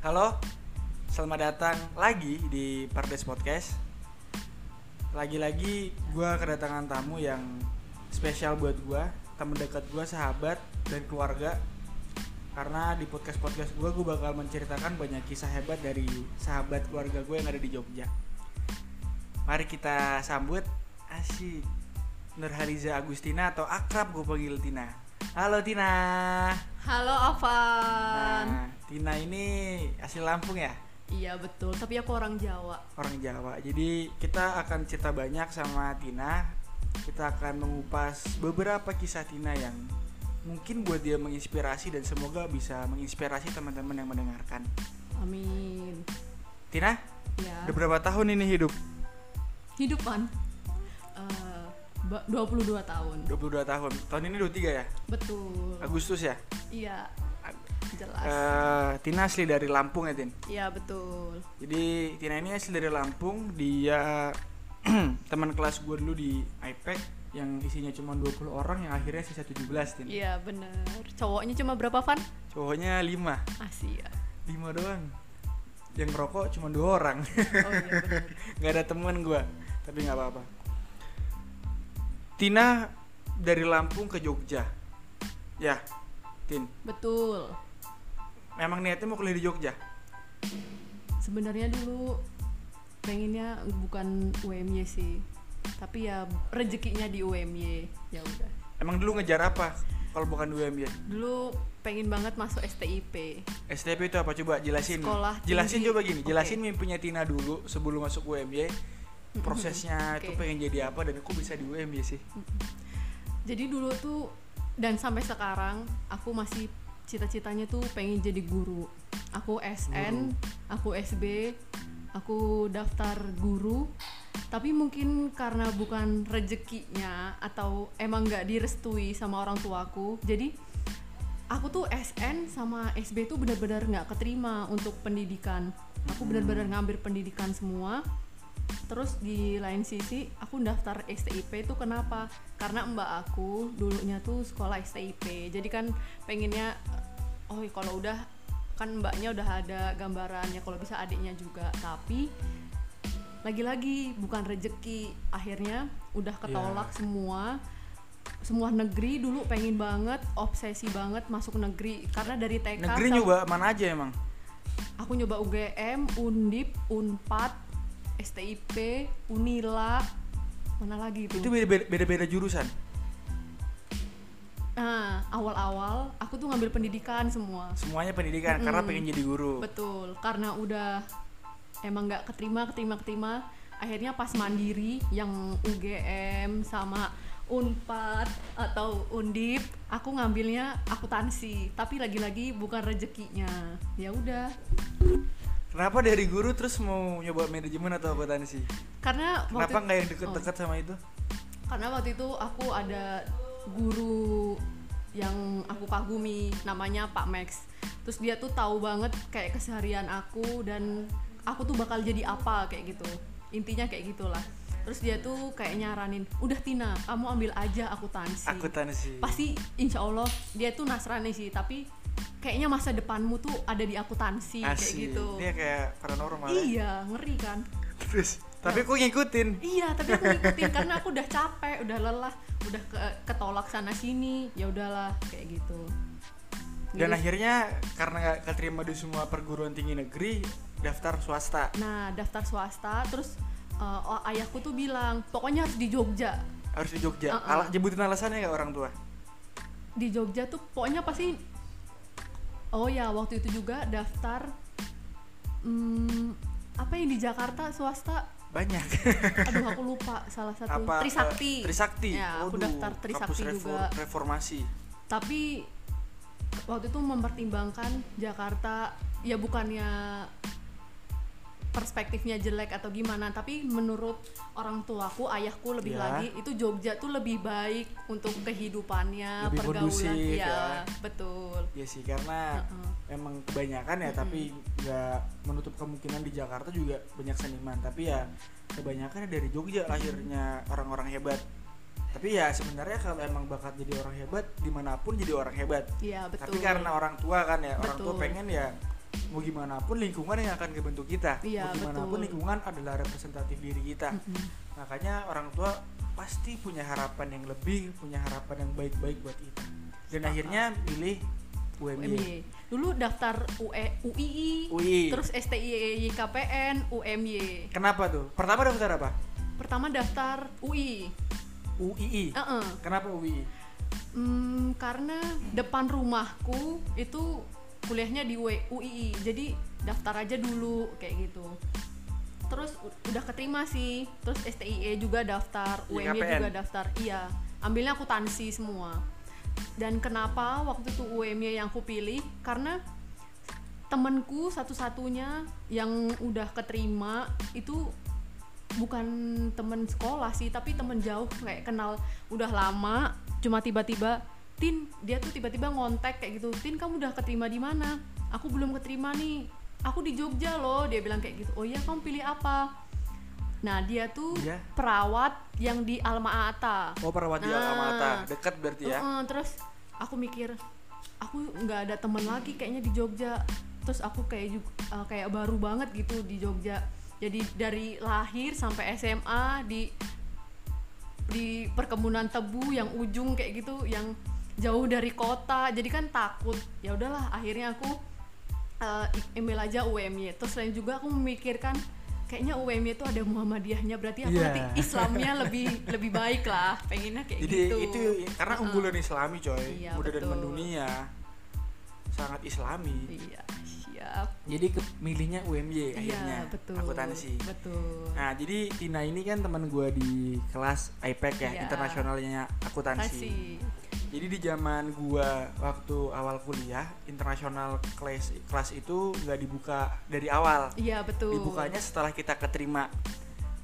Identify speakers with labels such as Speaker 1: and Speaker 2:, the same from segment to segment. Speaker 1: Halo, selamat datang lagi di Pardes Podcast. Lagi-lagi gue kedatangan tamu yang spesial buat gue, temen dekat gue, sahabat dan keluarga. Karena di podcast podcast gue, gue bakal menceritakan banyak kisah hebat dari sahabat keluarga gue yang ada di Jogja. Mari kita sambut Asyik Nurhaliza Agustina atau akrab gue panggil Tina. Halo Tina.
Speaker 2: Halo Avan.
Speaker 1: Nah, Tina ini asli Lampung ya,
Speaker 2: Iya betul, tapi aku orang Jawa.
Speaker 1: orang Jawa. Jadi kita akan cerita banyak sama Tina. Kita akan mengupas beberapa kisah Tina yang mungkin buat dia menginspirasi dan semoga bisa menginspirasi teman-teman yang mendengarkan.
Speaker 2: Amin.
Speaker 1: Tina,
Speaker 2: Ya.
Speaker 1: udah berapa tahun ini hidup?
Speaker 2: Hidup Van. Eh, ba- 22 tahun.
Speaker 1: 22 tahun. Tahun ini 23 ya?
Speaker 2: Betul.
Speaker 1: Agustus ya?
Speaker 2: Iya. Jelas.
Speaker 1: Eh, Tina asli dari Lampung ya, Tin?
Speaker 2: Iya betul.
Speaker 1: Jadi Tina ini asli dari Lampung, dia teman kelas gue dulu di IPEC yang isinya cuma 20 orang yang akhirnya sisa 17 Tin.
Speaker 2: Iya bener. Cowoknya cuma berapa Van? Ah, iya.
Speaker 1: Cowoknya 5,
Speaker 2: Asia.
Speaker 1: 5 doang. Yang rokok cuma dua orang.
Speaker 2: Oh iya bener.
Speaker 1: nggak ada temen gue, tapi nggak apa-apa. Tina dari Lampung ke Jogja. Ya, Tin.
Speaker 2: betul.
Speaker 1: Memang niatnya mau kuliah di Jogja.
Speaker 2: Sebenarnya dulu pengennya bukan UMY sih, tapi ya rezekinya di UMY. Ya udah.
Speaker 1: Emang dulu ngejar apa? Kalau bukan UMY.
Speaker 2: Dulu pengen banget masuk STIP.
Speaker 1: STP itu apa coba jelasin?
Speaker 2: Sekolah
Speaker 1: Jelasin
Speaker 2: tinggi.
Speaker 1: coba gini,
Speaker 2: Oke.
Speaker 1: jelasin mimpinya Tina dulu sebelum masuk UMY. Prosesnya
Speaker 2: Oke.
Speaker 1: itu pengen jadi apa dan aku bisa di UMY sih.
Speaker 2: Jadi dulu tuh dan sampai sekarang aku masih cita-citanya tuh pengen jadi guru. Aku SN, aku SB, aku daftar guru. Tapi mungkin karena bukan rezekinya atau emang nggak direstui sama orang tuaku, jadi aku tuh SN sama SB tuh benar-benar nggak keterima untuk pendidikan. Aku benar-benar ngambil pendidikan semua. Terus di lain sisi aku daftar STIP itu kenapa? Karena mbak aku dulunya tuh sekolah STIP. Jadi kan pengennya oh kalau udah kan mbaknya udah ada gambarannya kalau bisa adiknya juga. Tapi lagi-lagi bukan rezeki. Akhirnya udah ketolak semua. Semua negeri dulu pengen banget, obsesi banget masuk negeri karena dari
Speaker 1: Negeri
Speaker 2: TK sampai-
Speaker 1: nyoba mana aja emang?
Speaker 2: aku nyoba UGM, Undip, Unpad, STIP, Unila, mana lagi itu?
Speaker 1: Itu beda- beda-beda jurusan.
Speaker 2: Nah, awal-awal aku tuh ngambil pendidikan semua.
Speaker 1: Semuanya pendidikan
Speaker 2: Hmm.
Speaker 1: karena pengen jadi guru.
Speaker 2: Betul, karena udah emang nggak keterima, keterima, keterima. Akhirnya pas mandiri yang UGM sama Unpad atau Undip, aku ngambilnya akuntansi. Tapi lagi-lagi bukan rezekinya. Ya udah,
Speaker 1: Kenapa dari guru terus mau nyoba manajemen atau akuntansi?
Speaker 2: karena waktu
Speaker 1: Kenapa nggak yang
Speaker 2: Oh.
Speaker 1: deket-deket sama itu?
Speaker 2: karena waktu itu aku ada guru yang aku kagumi namanya Pak Max terus dia tuh tahu banget kayak keseharian aku dan aku tuh bakal jadi apa kayak gitu intinya kayak gitulah terus dia tuh kayak nyaranin udah Tina kamu ambil aja akuntansi
Speaker 1: Akuntansi.
Speaker 2: pasti insya Allah dia tuh Nasrani sih tapi kayaknya masa depanmu tuh ada di akuntansi kayak
Speaker 1: Asik.
Speaker 2: gitu
Speaker 1: Dia kayak paranormal. ya.
Speaker 2: iya ngeri kan
Speaker 1: Terus, tapi aku ngikutin.
Speaker 2: Iya, tapi aku ngikutin karena aku udah capek, udah lelah, udah ke- ketolak sana sini. Ya udahlah, kayak gitu.
Speaker 1: Dan
Speaker 2: Jadi-
Speaker 1: akhirnya karena nggak keterima di semua perguruan tinggi negeri, daftar swasta.
Speaker 2: Nah, daftar swasta terus eh, oh, ayahku tuh bilang, "Pokoknya harus di Jogja."
Speaker 1: harus di Jogja.
Speaker 2: Uh-uh.
Speaker 1: Ala, jebutin alasannya nggak orang tua?
Speaker 2: Di Jogja tuh pokoknya pasti Oh ya, waktu itu juga daftar hmm, apa yang di Jakarta swasta?
Speaker 1: Banyak.
Speaker 2: Aduh, aku lupa salah satu.
Speaker 1: Apa?
Speaker 2: Trisakti.
Speaker 1: eh, Trisakti.
Speaker 2: Ya, aku
Speaker 1: Waduh,
Speaker 2: daftar
Speaker 1: kampus
Speaker 2: Trisakti
Speaker 1: refor-
Speaker 2: juga.
Speaker 1: Reformasi.
Speaker 2: tapi waktu itu mempertimbangkan Jakarta ya bukannya perspektifnya jelek atau gimana tapi menurut orang tuaku ayahku lebih
Speaker 1: Ya.
Speaker 2: lagi itu Jogja tuh lebih baik untuk kehidupannya
Speaker 1: Lebih
Speaker 2: pergaulan
Speaker 1: kondusif, ya.
Speaker 2: ya betul
Speaker 1: Ya sih, karena
Speaker 2: Heeh.
Speaker 1: emang kebanyakan ya, tapi nggak menutup kemungkinan di Jakarta juga banyak seniman. Tapi ya kebanyakan dari Jogja lahirnya orang-orang hebat. Tapi ya sebenarnya kalau emang bakat jadi orang hebat, dimanapun jadi orang hebat.
Speaker 2: iya betul
Speaker 1: Tapi karena orang tua kan ya, orang tua
Speaker 2: Betul.
Speaker 1: pengen ya mau gimana pun lingkungan yang akan kebentuk kita
Speaker 2: Iya,
Speaker 1: mau gimana pun
Speaker 2: betul.
Speaker 1: lingkungan adalah representatif diri kita
Speaker 2: Mm-mm.
Speaker 1: makanya orang tua pasti punya harapan yang lebih punya harapan yang baik-baik buat kita dan akhirnya pilih UMY
Speaker 2: UMY. Iya. Dulu daftar E, UE, UII,
Speaker 1: UI
Speaker 2: terus STIE KPN, UMY.
Speaker 1: kenapa tuh pertama daftar apa
Speaker 2: Pertama daftar UI.
Speaker 1: UII
Speaker 2: Heeh.
Speaker 1: kenapa UII
Speaker 2: Hmm, karena depan rumahku itu kuliahnya di W- UII. Jadi daftar aja dulu kayak gitu. Terus u- udah keterima sih. Terus STIE E juga daftar,
Speaker 1: Di
Speaker 2: UMY
Speaker 1: KPN.
Speaker 2: juga daftar. Iya, ambilnya akuntansi semua. Dan kenapa waktu itu UMY yang aku pilih? Karena temenku satu-satunya yang udah keterima itu bukan temen sekolah sih tapi temen jauh kayak kenal udah lama cuma tiba-tiba tin dia tuh tiba-tiba ngontek kayak gitu tin kamu udah keterima di mana aku belum keterima nih aku di Jogja loh dia bilang kayak gitu oh iya kamu pilih apa nah dia tuh
Speaker 1: Iya.
Speaker 2: perawat yang di Alma Ata
Speaker 1: oh perawat di
Speaker 2: Nah.
Speaker 1: Alma Mater dekat berarti ya
Speaker 2: Heeh, terus aku mikir aku nggak ada temen lagi kayaknya di Jogja. Terus aku kayak juga kayak baru banget gitu di Jogja. Jadi dari lahir sampai SMA di di perkebunan tebu yang ujung kayak gitu yang jauh dari kota. Jadi kan takut. Ya udahlah akhirnya aku eh, email aja UMY. Terus lain juga aku memikirkan kayaknya UMY itu ada Muhammadiyahnya berarti aku
Speaker 1: Iya.
Speaker 2: nanti Islamnya lebih lebih baik lah pengennya kayak
Speaker 1: jadi
Speaker 2: gitu.
Speaker 1: itu karena
Speaker 2: Heeh.
Speaker 1: unggulan Islami coy
Speaker 2: Iya,
Speaker 1: muda dan
Speaker 2: betul.
Speaker 1: mendunia sangat Islami
Speaker 2: Iya, siap.
Speaker 1: jadi kepilihnya UMY akhirnya
Speaker 2: Iya, betul.
Speaker 1: akuntansi
Speaker 2: Betul.
Speaker 1: Nah, jadi Tina ini kan teman gue di kelas IPEC ya,
Speaker 2: Iya.
Speaker 1: internasionalnya akuntansi.
Speaker 2: Akuntansi.
Speaker 1: Jadi di zaman gua waktu awal kuliah, internasional kelas kelas itu nggak dibuka dari awal.
Speaker 2: Iya, betul.
Speaker 1: Dibukanya setelah kita keterima.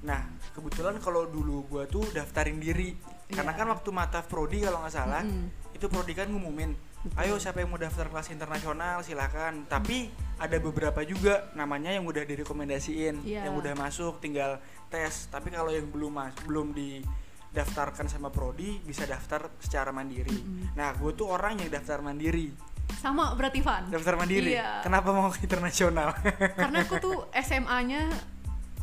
Speaker 1: Nah, kebetulan kalau dulu gua tuh daftarin diri. Karena
Speaker 2: Iya.
Speaker 1: kan waktu mata prodi kalau nggak salah,
Speaker 2: Mm-mm.
Speaker 1: itu prodi kan ngumumin, "Ayo siapa yang mau daftar kelas internasional silakan." Tapi ada beberapa juga namanya yang udah direkomendasiin,
Speaker 2: Iya.
Speaker 1: yang udah masuk tinggal tes. Tapi kalau yang belum mas belum didaftarkan sama prodi bisa daftar secara mandiri.
Speaker 2: Mm-mm.
Speaker 1: Nah, gue tuh orang yang daftar mandiri,
Speaker 2: Sama berarti Van.
Speaker 1: daftar mandiri.
Speaker 2: Iya. Oh.
Speaker 1: Kenapa mau ke internasional?
Speaker 2: Karena aku tuh SMA-nya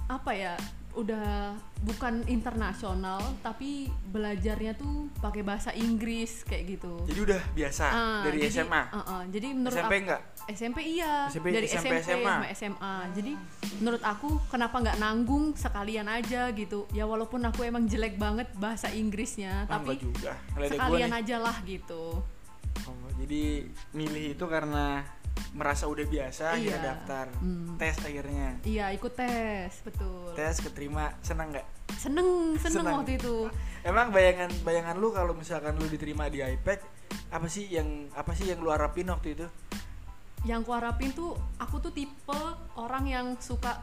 Speaker 2: apa ya? Udah bukan internasional tapi belajarnya tuh pakai bahasa Inggris kayak gitu.
Speaker 1: jadi udah biasa
Speaker 2: Ah,
Speaker 1: dari
Speaker 2: jadi-
Speaker 1: SMA.
Speaker 2: Uh-uh, jadi menurut
Speaker 1: SMP
Speaker 2: aku
Speaker 1: enggak?
Speaker 2: SMP iya
Speaker 1: SMP,
Speaker 2: dari
Speaker 1: SMP,
Speaker 2: SMP,
Speaker 1: SMA.
Speaker 2: sama SMA jadi menurut aku kenapa nggak nanggung sekalian aja gitu ya walaupun aku emang jelek banget bahasa Inggrisnya
Speaker 1: Ah, enggak
Speaker 2: tapi
Speaker 1: juga. Ngeledek gua
Speaker 2: sekalian
Speaker 1: nih.
Speaker 2: aja lah gitu
Speaker 1: Oh, jadi milih itu karena merasa udah biasa akhirnya
Speaker 2: Iya.
Speaker 1: daftar.
Speaker 2: Hmm.
Speaker 1: Tes akhirnya.
Speaker 2: iya ikut tes betul
Speaker 1: Tes keterima, senang nggak?
Speaker 2: seneng seneng
Speaker 1: Seneng.
Speaker 2: waktu itu
Speaker 1: Emang bayangan bayangan lu kalau misalkan lu diterima di iPad apa sih yang apa sih yang lu harapin waktu itu?
Speaker 2: yang kuharapin tuh aku tuh tipe orang yang suka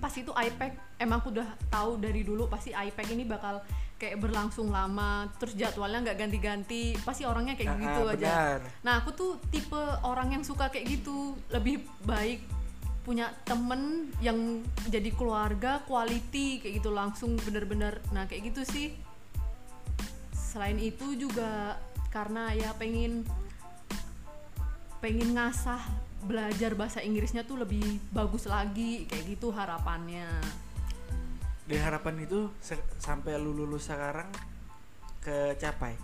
Speaker 2: pas itu IPAC emang aku udah tahu dari dulu pasti IPAC ini bakal kayak berlangsung lama terus jadwalnya nggak ganti-ganti pasti orangnya
Speaker 1: Ah,
Speaker 2: kayak gitu
Speaker 1: ah,
Speaker 2: aja
Speaker 1: benar.
Speaker 2: Nah aku tuh tipe orang yang suka kayak gitu Lebih baik punya temen yang jadi keluarga quality kayak gitu langsung bener-bener Nah kayak gitu sih Selain itu juga karena ya pengen pengen ngasah belajar bahasa Inggrisnya tuh lebih bagus lagi kayak gitu harapannya
Speaker 1: Dari harapan itu se- sampai lu lulus sekarang kecapai.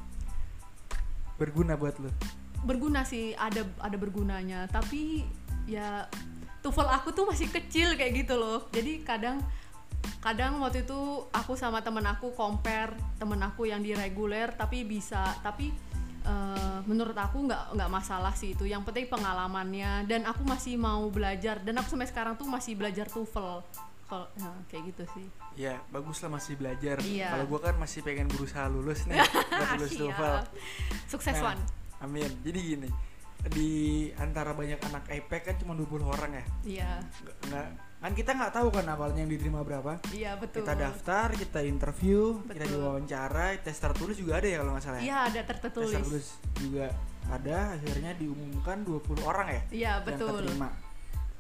Speaker 1: Berguna buat lu.
Speaker 2: berguna sih ada ada bergunanya tapi ya TOEFL aku tuh masih kecil kayak gitu loh jadi kadang kadang waktu itu aku sama temen aku compare temen aku yang di reguler tapi bisa tapi eh, menurut aku nggak nggak masalah sih itu yang penting pengalamannya dan aku masih mau belajar dan aku sampai sekarang tuh masih belajar TOEFL kalau nah, kayak gitu sih
Speaker 1: Ya, bagus lah masih belajar.
Speaker 2: Iya.
Speaker 1: Kalau gua kan masih pengen berusaha lulus nih, buat lulus
Speaker 2: Siap.
Speaker 1: TOEFL.
Speaker 2: sukses
Speaker 1: Nah,
Speaker 2: Wan
Speaker 1: Amin. Jadi gini, di antara banyak anak IPEK kan cuma 20 orang ya.
Speaker 2: iya
Speaker 1: Nggak- Nggak, kan kita nggak tahu kan awalnya yang diterima berapa.
Speaker 2: iya betul
Speaker 1: Kita daftar, kita interview, kita
Speaker 2: Betul.
Speaker 1: diwawancara, tes tertulis juga ada ya kalau nggak salah. ya?
Speaker 2: iya ada
Speaker 1: Tes
Speaker 2: tertulis
Speaker 1: tertulis juga ada. Akhirnya diumumkan 20 orang ya
Speaker 2: iya
Speaker 1: yang
Speaker 2: betul
Speaker 1: terima.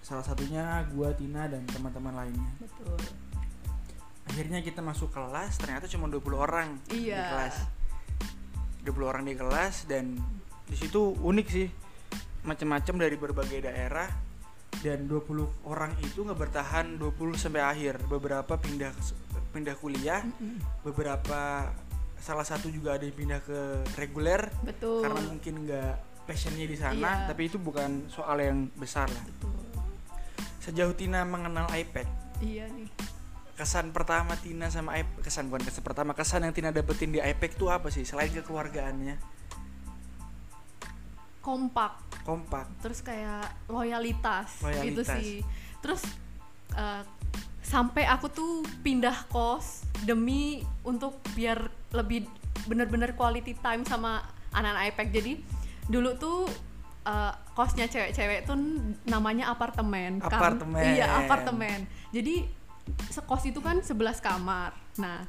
Speaker 1: Salah satunya gua, Tina dan teman-teman lainnya.
Speaker 2: Betul.
Speaker 1: Akhirnya kita masuk kelas, ternyata cuma 20 orang di
Speaker 2: Iya.
Speaker 1: kelas. 20 orang di kelas dan di situ unik sih. Macam-macam dari berbagai daerah. dan 20 orang itu nggak bertahan 20 sampai akhir beberapa pindah pindah kuliah
Speaker 2: Mm-mm.
Speaker 1: beberapa salah satu juga ada yang pindah ke reguler
Speaker 2: betul
Speaker 1: karena mungkin nggak passionnya di sana
Speaker 2: Iya.
Speaker 1: tapi itu bukan soal yang besar lah
Speaker 2: betul
Speaker 1: sejauh Tina mengenal iPad
Speaker 2: iya nih
Speaker 1: kesan pertama Tina sama iPad kesan bukan kesan pertama kesan yang Tina dapetin di iPad itu apa sih selain kekeluargaannya
Speaker 2: kompak
Speaker 1: kompak
Speaker 2: terus kayak loyalitas, gitu
Speaker 1: Loyalitas.
Speaker 2: sih terus eh, sampai aku tuh pindah kos demi untuk biar lebih bener-bener quality time sama anak-anak IPEC jadi dulu tuh eh, kosnya cewek-cewek tuh namanya apartemen kan?
Speaker 1: Apartemen.
Speaker 2: iya apartemen jadi sekos itu kan 11 kamar nah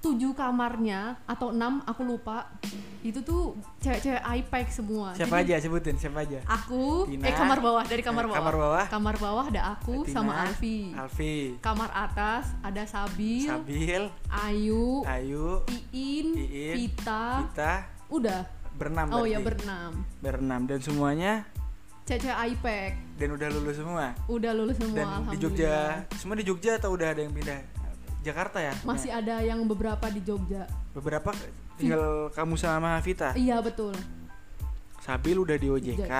Speaker 2: tujuh kamarnya atau enam aku lupa itu tuh cewek-cewek IPEC semua
Speaker 1: siapa
Speaker 2: Ah, Jadi-
Speaker 1: aja sebutin siapa aja
Speaker 2: aku
Speaker 1: Tina.
Speaker 2: eh kamar bawah dari kamar
Speaker 1: Eh,
Speaker 2: bawah
Speaker 1: kamar bawah.
Speaker 2: kamar bawah ada aku
Speaker 1: Tina,
Speaker 2: sama Alfi
Speaker 1: Alfi
Speaker 2: kamar atas ada Sabil
Speaker 1: Sabil
Speaker 2: Ayu
Speaker 1: Ayu
Speaker 2: Iin
Speaker 1: Iin,
Speaker 2: Vita
Speaker 1: kita
Speaker 2: udah
Speaker 1: berenam
Speaker 2: oh ya
Speaker 1: berarti.
Speaker 2: berenam
Speaker 1: berenam dan semuanya
Speaker 2: cewek IPEC
Speaker 1: dan udah lulus semua
Speaker 2: udah lulus
Speaker 1: dan
Speaker 2: semua
Speaker 1: di
Speaker 2: alhamdulillah
Speaker 1: Jogja semua di Jogja atau udah ada yang pindah Jakarta ya
Speaker 2: masih
Speaker 1: Nah,
Speaker 2: ada yang beberapa di Jogja
Speaker 1: beberapa tinggal kamu sama Vita
Speaker 2: iya betul
Speaker 1: Sabil udah di OJK
Speaker 2: OJK.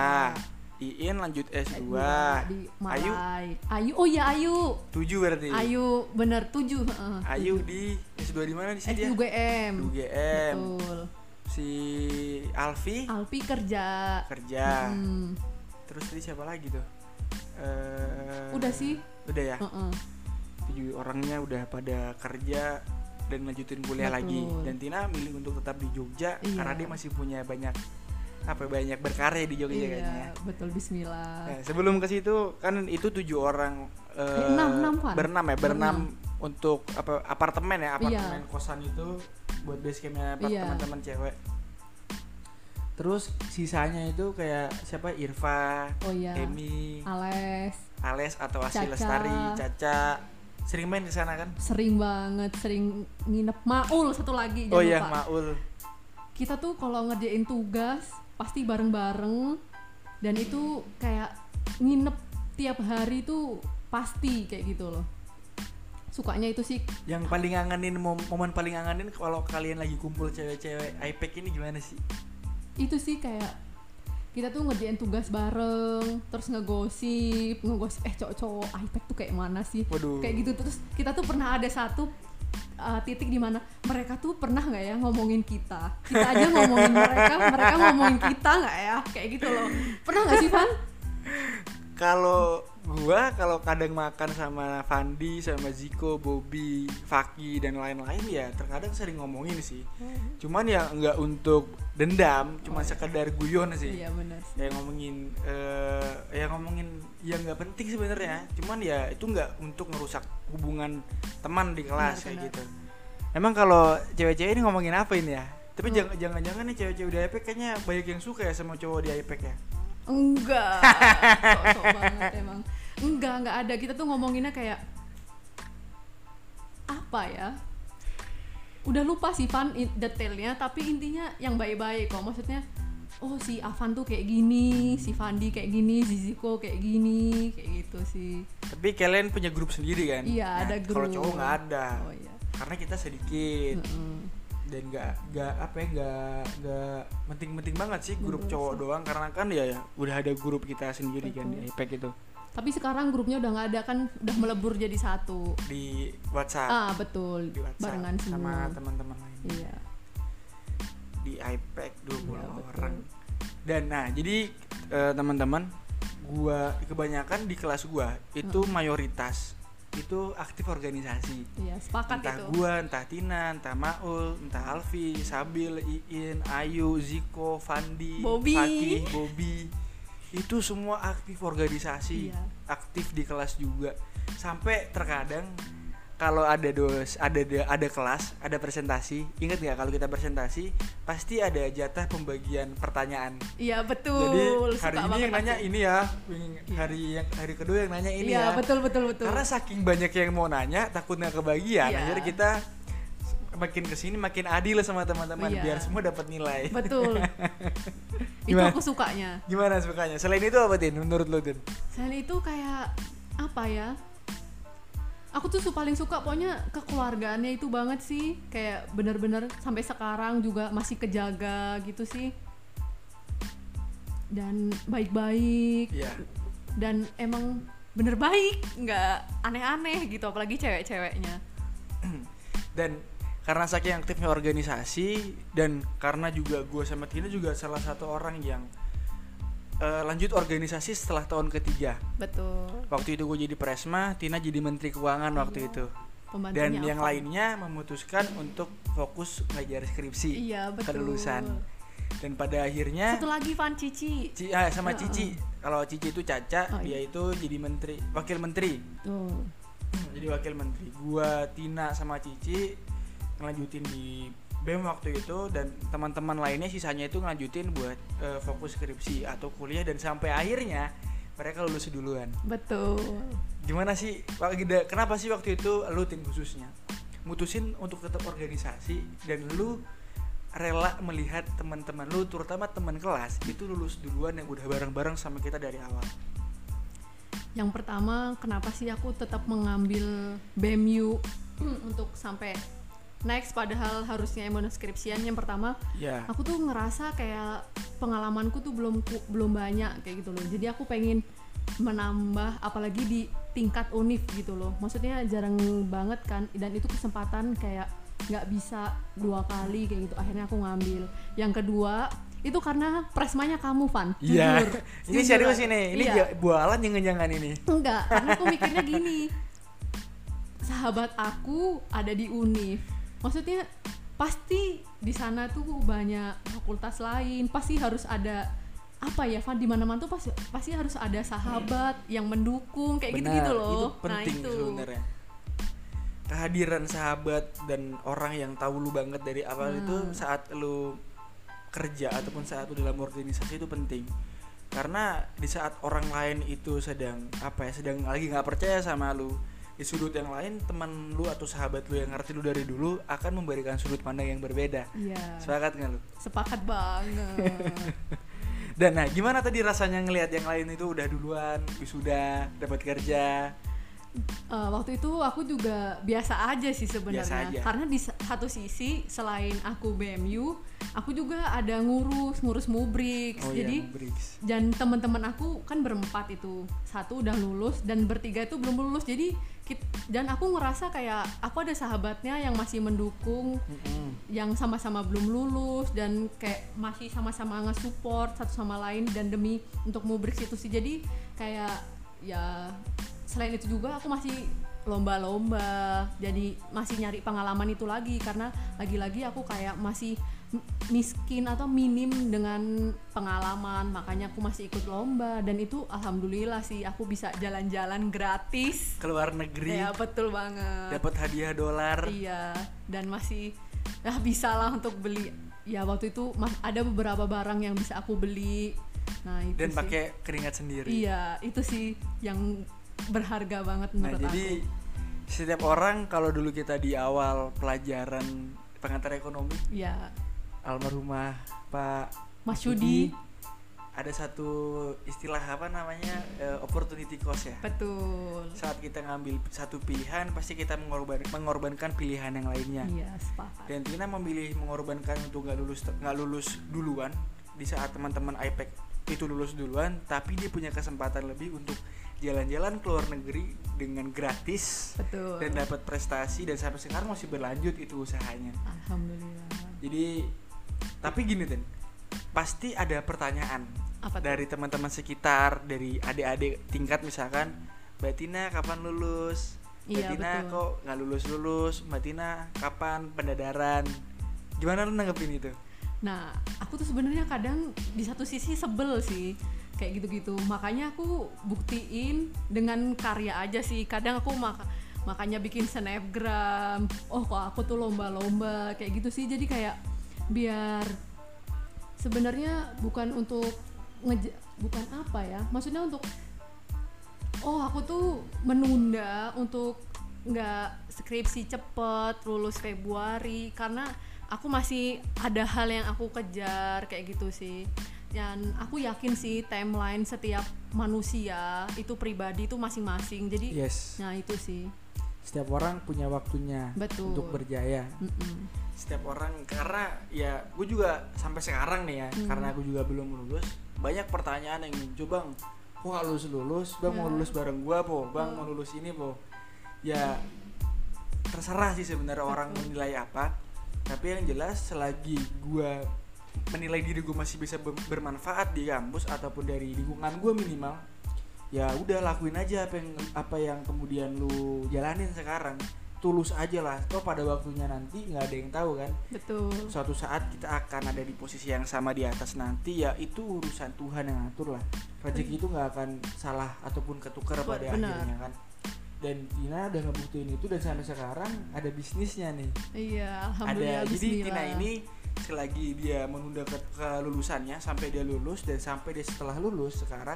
Speaker 1: Iin lanjut S2
Speaker 2: Iya, di
Speaker 1: Ayu
Speaker 2: Malai Ayu oh ya Ayu
Speaker 1: 7 berarti
Speaker 2: Ayu bener tujuh heeh.
Speaker 1: Ayu di S2 di mana di
Speaker 2: Eh,
Speaker 1: sini ya? dia Di
Speaker 2: UGM
Speaker 1: UGM
Speaker 2: betul
Speaker 1: si Alfi
Speaker 2: Alpi kerja
Speaker 1: kerja
Speaker 2: Hmm.
Speaker 1: terus tadi siapa lagi tuh Eh,
Speaker 2: Udah sih.
Speaker 1: udah ya
Speaker 2: Heeh.
Speaker 1: tujuh orangnya udah pada kerja dan lanjutin kuliah
Speaker 2: Betul.
Speaker 1: lagi dan Tina milih untuk tetap di Jogja
Speaker 2: Iya.
Speaker 1: karena dia masih punya banyak apa ya, banyak berkarya di Jogja kayaknya ya.
Speaker 2: Iya, betul bismillah.
Speaker 1: Nah, sebelum ke situ kan itu tujuh orang eh,
Speaker 2: enam, enam, Van.
Speaker 1: berenam ya berenam untuk apa apartemen ya apartemen
Speaker 2: Iya.
Speaker 1: kosan itu buat base campnya apa-
Speaker 2: Iya.
Speaker 1: teman-teman cewek terus sisanya itu kayak siapa Irfa
Speaker 2: Oh iya.
Speaker 1: Emi
Speaker 2: Ales
Speaker 1: Ales atau Asil
Speaker 2: Caca.
Speaker 1: Lestari Caca sering main ke sana kan
Speaker 2: sering banget sering nginep Maul satu lagi jangan
Speaker 1: oh iya
Speaker 2: lupa.
Speaker 1: Maul
Speaker 2: Kita tuh kalau ngerjain tugas pasti bareng-bareng dan itu kayak nginep tiap hari tuh pasti kayak gitu loh. Sukanya itu sih
Speaker 1: yang paling ngangenin mom- momen paling ngangenin kalau kalian lagi kumpul cewek-cewek IPEC ini gimana sih
Speaker 2: itu sih kayak kita tuh ngerjain tugas bareng terus ngegosip ngegosip eh cowok-cowok iPad tuh kayak mana sih
Speaker 1: Waduh.
Speaker 2: kayak gitu terus kita tuh pernah ada satu uh, titik di mana mereka tuh pernah nggak ya ngomongin kita kita aja ngomongin mereka mereka ngomongin kita nggak ya kayak gitu loh pernah nggak sih Van
Speaker 1: kalau gua kalau kadang makan sama Fandi sama Ziko Bobby Faki dan lain-lain ya terkadang sering ngomongin sih cuman ya nggak untuk dendam cuma sekedar guyon sih
Speaker 2: Oh, iya benar
Speaker 1: ya ngomongin eh ya ngomongin ya nggak penting sebenarnya
Speaker 2: Iya.
Speaker 1: cuman ya itu nggak untuk ngerusak hubungan teman di kelas kayak
Speaker 2: Benar, benar.
Speaker 1: gitu emang kalau cewek-cewek ini ngomongin apa ini ya tapi
Speaker 2: Hmm.
Speaker 1: jangan- jangan-jangan nih cewek-cewek di IPEC kayaknya banyak yang suka ya sama cowok di IPEC ya
Speaker 2: enggak sok banget emang enggak enggak ada kita tuh ngomonginnya kayak apa ya udah lupa sih Van in- detailnya tapi intinya yang baik-baik kok maksudnya oh si Avan tuh kayak gini si Fandi kayak gini si Ziko kayak gini kayak gitu sih
Speaker 1: tapi kalian punya grup sendiri kan
Speaker 2: iya
Speaker 1: Nah,
Speaker 2: ada grup
Speaker 1: kalau cowok nggak ada
Speaker 2: oh iya Hmm.
Speaker 1: karena kita sedikit
Speaker 2: Mm-mm.
Speaker 1: dan nggak nggak apa ya nggak nggak penting-penting banget sih grup
Speaker 2: Betul
Speaker 1: cowok
Speaker 2: sih.
Speaker 1: doang karena kan ya, ya udah ada grup kita sendiri kan di
Speaker 2: Betul.
Speaker 1: IPEC itu
Speaker 2: tapi sekarang grupnya udah nggak ada kan udah melebur jadi satu
Speaker 1: di WhatsApp
Speaker 2: ah betul
Speaker 1: di WhatsApp
Speaker 2: barengan
Speaker 1: sama
Speaker 2: semua
Speaker 1: teman-teman lain
Speaker 2: iya
Speaker 1: di iPad 20
Speaker 2: Iya, betul.
Speaker 1: orang. Dan nah, jadi eh, teman-teman, gua kebanyakan di kelas gua itu
Speaker 2: Hmm.
Speaker 1: mayoritas itu aktif organisasi.
Speaker 2: iya sepakat
Speaker 1: entah
Speaker 2: itu
Speaker 1: gua, entah Tina, entah Maul, entah Alfi, Sabil, Iin, Ayu, Ziko, Fandi,
Speaker 2: Bobby.
Speaker 1: Fatih, Bobby. Itu semua aktif organisasi,
Speaker 2: Iya.
Speaker 1: aktif di kelas juga. Sampai terkadang kalau ada dos, ada ada, ada kelas, ada presentasi, ingat nggak kalau kita presentasi pasti ada jatah pembagian pertanyaan.
Speaker 2: Iya betul.
Speaker 1: Jadi
Speaker 2: Suka
Speaker 1: hari ini
Speaker 2: banget
Speaker 1: yang nanya
Speaker 2: aku.
Speaker 1: ini ya, hari yang hari kedua yang nanya ini ya.
Speaker 2: Iya betul betul betul.
Speaker 1: Karena saking banyak yang mau nanya, takutnya kebagian.
Speaker 2: Iya.
Speaker 1: Akhirnya kita makin kesini makin adil sama teman-teman
Speaker 2: Iya.
Speaker 1: biar semua dapat nilai.
Speaker 2: Betul. itu
Speaker 1: Gimana?
Speaker 2: aku sukanya.
Speaker 1: Gimana sukanya? Selain itu apa Tin? Menurut lu Tin?
Speaker 2: Selain itu kayak apa ya? Aku tuh su- paling suka pokoknya kekeluargaannya itu banget sih. Kayak bener-bener sampai sekarang juga masih kejaga gitu sih. Dan baik-baik
Speaker 1: Iya.
Speaker 2: dan emang bener baik, nggak aneh-aneh gitu apalagi cewek-ceweknya.
Speaker 1: Dan karena saking aktifnya organisasi dan karena juga gue sama Tina juga salah satu orang yang eh, lanjut organisasi setelah tahun ketiga.
Speaker 2: Betul.
Speaker 1: Waktu itu gue jadi presma, Tina jadi menteri keuangan waktu itu. Dan
Speaker 2: Pembantunya
Speaker 1: yang
Speaker 2: Iya. apa?
Speaker 1: lainnya memutuskan untuk fokus ngajar skripsi
Speaker 2: Iya, betul.
Speaker 1: kelulusan. Dan pada akhirnya
Speaker 2: Satu lagi Van Cici.
Speaker 1: Ci- ah, sama
Speaker 2: Heeh.
Speaker 1: Cici. Kalau Cici itu Caca,
Speaker 2: Oh,
Speaker 1: dia
Speaker 2: iya.
Speaker 1: itu jadi menteri, wakil menteri.
Speaker 2: Tuh.
Speaker 1: Jadi wakil menteri. Gua Tina sama Cici ngelanjutin di BEM waktu itu dan teman-teman lainnya sisanya itu ngelanjutin buat eh, fokus skripsi atau kuliah dan sampai akhirnya mereka lulus duluan.
Speaker 2: Betul.
Speaker 1: Gimana sih Pak Gida, kenapa sih waktu itu lu tim khususnya mutusin untuk tetap organisasi dan lu rela melihat teman-teman lu terutama teman kelas itu lulus duluan yang udah bareng-bareng sama kita dari awal.
Speaker 2: Yang pertama, kenapa sih aku tetap mengambil BMU Hmm, untuk sampai next padahal harusnya monoskripsian yang pertama
Speaker 1: Ya.
Speaker 2: aku tuh ngerasa kayak pengalamanku tuh belum ku- belum banyak kayak gitu loh jadi aku pengen menambah apalagi di tingkat univ gitu loh maksudnya jarang banget kan dan itu kesempatan kayak nggak bisa dua kali kayak gitu akhirnya aku ngambil yang kedua itu karena presmanya kamu Van
Speaker 1: Iya.
Speaker 2: Jujur.
Speaker 1: ini
Speaker 2: Jujur
Speaker 1: serius
Speaker 2: aja.
Speaker 1: ini. Ini
Speaker 2: Iya.
Speaker 1: ja- bualan jangan-jangan ini.
Speaker 2: Enggak, karena aku mikirnya gini. Sahabat aku ada di UNIF. Maksudnya pasti di sana tuh banyak fakultas lain, pasti harus ada apa ya, Van di mana-mana tuh pasti pasti harus ada sahabat yang mendukung kayak
Speaker 1: Benar,
Speaker 2: gitu-gitu loh.
Speaker 1: Itu penting
Speaker 2: nah, itu.
Speaker 1: sebenarnya. Kehadiran sahabat dan orang yang tahu lu banget dari awal
Speaker 2: Nah.
Speaker 1: itu saat lu kerja ataupun saat lu dalam organisasi itu penting. Karena di saat orang lain itu sedang apa ya, sedang lagi nggak percaya sama lu di sudut yang lain teman lu atau sahabat lu yang ngerti lu dari dulu akan memberikan sudut pandang yang berbeda.
Speaker 2: Iya.
Speaker 1: Sepakat nggak lu?
Speaker 2: Sepakat banget.
Speaker 1: Dan nah, gimana tadi rasanya ngelihat yang lain itu udah duluan, wisuda, dapat kerja?
Speaker 2: Eh, waktu itu aku juga biasa aja sih sebenarnya
Speaker 1: Biasa aja.
Speaker 2: karena di sa- satu sisi selain aku BMU aku juga ada ngurus ngurus mubrix
Speaker 1: Oh iya,
Speaker 2: jadi
Speaker 1: Briggs.
Speaker 2: dan teman-teman aku kan berempat itu satu udah lulus dan bertiga itu belum lulus jadi kit- dan aku ngerasa kayak aku ada sahabatnya yang masih mendukung
Speaker 1: Mm-mm.
Speaker 2: yang sama-sama belum lulus dan kayak masih sama-sama nge-support satu sama lain dan demi untuk mubrix itu sih jadi kayak ya selain itu juga aku masih lomba-lomba jadi masih nyari pengalaman itu lagi karena lagi-lagi aku kayak masih m- miskin atau minim dengan pengalaman makanya aku masih ikut lomba dan itu alhamdulillah sih aku bisa jalan-jalan gratis
Speaker 1: keluar negeri
Speaker 2: ya betul banget
Speaker 1: dapat hadiah dolar
Speaker 2: Iya, dan masih ya bisa lah untuk beli. Ya waktu itu mas- ada beberapa barang yang bisa aku beli. Nah, itu
Speaker 1: dan
Speaker 2: sih.
Speaker 1: pakai keringat sendiri.
Speaker 2: Iya, itu sih yang berharga banget
Speaker 1: nah,
Speaker 2: menurut aku.
Speaker 1: jadi setiap orang kalau dulu kita di awal pelajaran pengantar ekonomi
Speaker 2: Iya.
Speaker 1: almarhumah Pak
Speaker 2: Mas Yudi,
Speaker 1: ada satu istilah apa namanya eh, opportunity cost ya.
Speaker 2: betul.
Speaker 1: Saat kita ngambil satu pilihan pasti kita mengorban- mengorbankan pilihan yang lainnya.
Speaker 2: Iya, sepakat.
Speaker 1: dan Tina memilih mengorbankan untuk nggak lulus nggak lulus duluan di saat teman-teman IPEC itu lulus duluan tapi dia punya kesempatan lebih untuk jalan-jalan ke luar negeri dengan gratis
Speaker 2: Betul.
Speaker 1: dan dapat prestasi dan sampai sekarang masih berlanjut itu usahanya
Speaker 2: Alhamdulillah.
Speaker 1: jadi tapi gini Tin pasti ada pertanyaan
Speaker 2: Apa tuh?
Speaker 1: dari teman-teman sekitar dari adik-adik tingkat misalkan Mbak Tina kapan lulus Mbak
Speaker 2: Iya,
Speaker 1: Tina
Speaker 2: betul.
Speaker 1: kok nggak lulus lulus Mbak Tina kapan pendadaran gimana lu nanggepin itu
Speaker 2: Nah, aku tuh sebenarnya kadang di satu sisi sebel sih kayak gitu-gitu. Makanya aku buktiin dengan karya aja sih. Kadang aku mak- makanya bikin snapgram. Oh, kok aku tuh lomba-lomba kayak gitu sih. Jadi kayak biar sebenarnya bukan untuk ngeja- bukan apa ya? Maksudnya untuk oh, aku tuh menunda untuk nggak skripsi cepet lulus Februari karena aku masih ada hal yang aku kejar kayak gitu sih dan aku yakin sih timeline setiap manusia itu pribadi itu masing-masing jadi
Speaker 1: Yes.
Speaker 2: nah itu sih
Speaker 1: Setiap orang punya waktunya
Speaker 2: Betul.
Speaker 1: untuk berjaya.
Speaker 2: Mm-mm.
Speaker 1: Setiap orang karena ya gue juga sampai sekarang nih ya,
Speaker 2: Hmm.
Speaker 1: karena aku juga belum lulus, banyak pertanyaan yang muncul bang, kok nggak lulus lulus, bang mau
Speaker 2: Ya.
Speaker 1: lulus bareng gue po, bang
Speaker 2: Oh.
Speaker 1: mau lulus ini po, ya terserah sih sebenarnya orang
Speaker 2: Betul.
Speaker 1: menilai apa, tapi yang jelas selagi gue menilai diri gue masih bisa ber- bermanfaat di kampus ataupun dari lingkungan gue minimal ya udah lakuin aja apa yang apa yang kemudian lu jalanin sekarang tulus aja lah toh pada waktunya nanti nggak ada yang tahu kan
Speaker 2: betul
Speaker 1: suatu saat kita akan ada di posisi yang sama di atas nanti ya itu urusan Tuhan yang atur lah rezeki itu nggak akan salah ataupun ketukar
Speaker 2: Betul,
Speaker 1: pada
Speaker 2: benar.
Speaker 1: akhirnya kan dan Tina udah ngebuktiin itu dan sampai sekarang ada bisnisnya nih
Speaker 2: iya alhamdulillah
Speaker 1: ada jadi Tina
Speaker 2: bismillah.
Speaker 1: ini selagi dia menunda ke kelulusannya sampai dia lulus dan sampai dia setelah lulus sekarang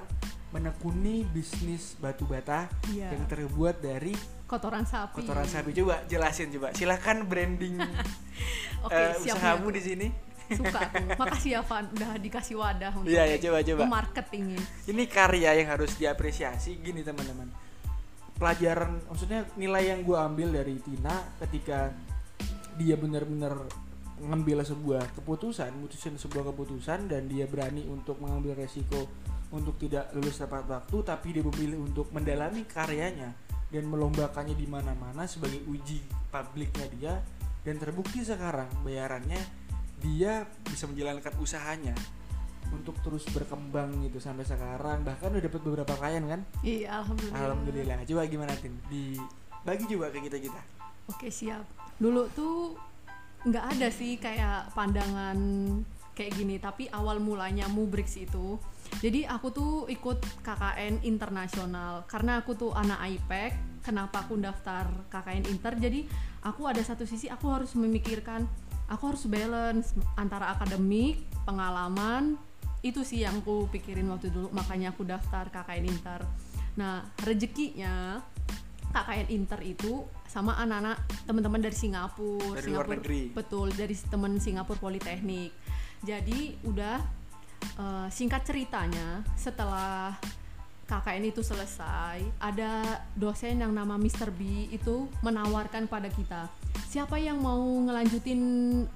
Speaker 1: menekuni bisnis batu bata
Speaker 2: Iya.
Speaker 1: yang terbuat dari
Speaker 2: kotoran sapi
Speaker 1: kotoran sapi coba jelasin coba silahkan branding
Speaker 2: oke
Speaker 1: eh,
Speaker 2: siap ya.
Speaker 1: usahamu
Speaker 2: nih
Speaker 1: di sini
Speaker 2: aku. suka aku makasih ya Van udah dikasih wadah untuk
Speaker 1: iya ya coba coba
Speaker 2: marketingin
Speaker 1: ini karya yang harus diapresiasi gini teman-teman pelajaran maksudnya nilai yang gue ambil dari Tina ketika dia benar-benar ngambil sebuah keputusan mutusin sebuah keputusan dan dia berani untuk mengambil resiko untuk tidak lulus tepat waktu tapi dia memilih untuk mendalami karyanya dan melombakannya di mana-mana sebagai uji publiknya dia dan terbukti sekarang bayarannya dia bisa menjalankan usahanya untuk terus berkembang gitu sampai sekarang bahkan udah dapat beberapa klien kan
Speaker 2: iya alhamdulillah
Speaker 1: alhamdulillah coba gimana tim di bagi juga ke kita kita
Speaker 2: Nah, Oke siap. Dulu tuh nggak ada sih kayak pandangan kayak gini. Tapi awal mulanya Mubrix itu, jadi aku tuh ikut KKN internasional karena aku tuh anak IPEC. Kenapa aku daftar KKN Inter? Jadi aku ada satu sisi aku harus memikirkan aku harus balance antara akademik, pengalaman itu sih yang aku pikirin waktu dulu makanya aku daftar KKN Inter. Nah rezekinya KKN Inter itu sama anak-anak teman-teman dari Singapura,
Speaker 1: Dari luar
Speaker 2: Singapura-
Speaker 1: negeri.
Speaker 2: Betul, dari teman Singapura Politeknik. Jadi udah eh, singkat ceritanya setelah KKN itu selesai, ada dosen yang nama Mr. B itu menawarkan pada kita, siapa yang mau ngelanjutin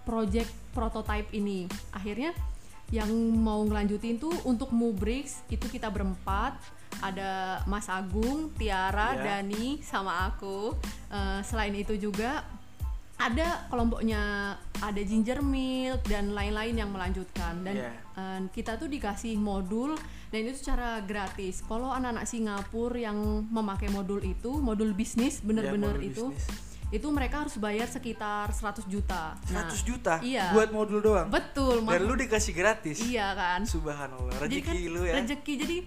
Speaker 2: project prototype ini? Akhirnya yang mau ngelanjutin tuh untuk Mubrix itu kita berempat, ada Mas Agung, Tiara,
Speaker 1: Iya.
Speaker 2: Dani sama aku. Eh, selain itu juga ada kelompoknya ada ginger milk dan lain-lain yang melanjutkan dan
Speaker 1: Iya.
Speaker 2: eh, kita tuh dikasih modul dan itu secara gratis kalau anak-anak Singapura yang memakai modul itu modul bisnis
Speaker 1: Ya,
Speaker 2: bener-bener
Speaker 1: modul
Speaker 2: itu
Speaker 1: bisnis.
Speaker 2: itu mereka harus bayar sekitar 100 juta
Speaker 1: 100
Speaker 2: Nah,
Speaker 1: juta
Speaker 2: iya.
Speaker 1: buat modul doang
Speaker 2: betul
Speaker 1: dan
Speaker 2: Mas.
Speaker 1: lu dikasih gratis
Speaker 2: iya kan
Speaker 1: subhanallah rezeki
Speaker 2: jadi kan
Speaker 1: lu ya
Speaker 2: rezeki jadi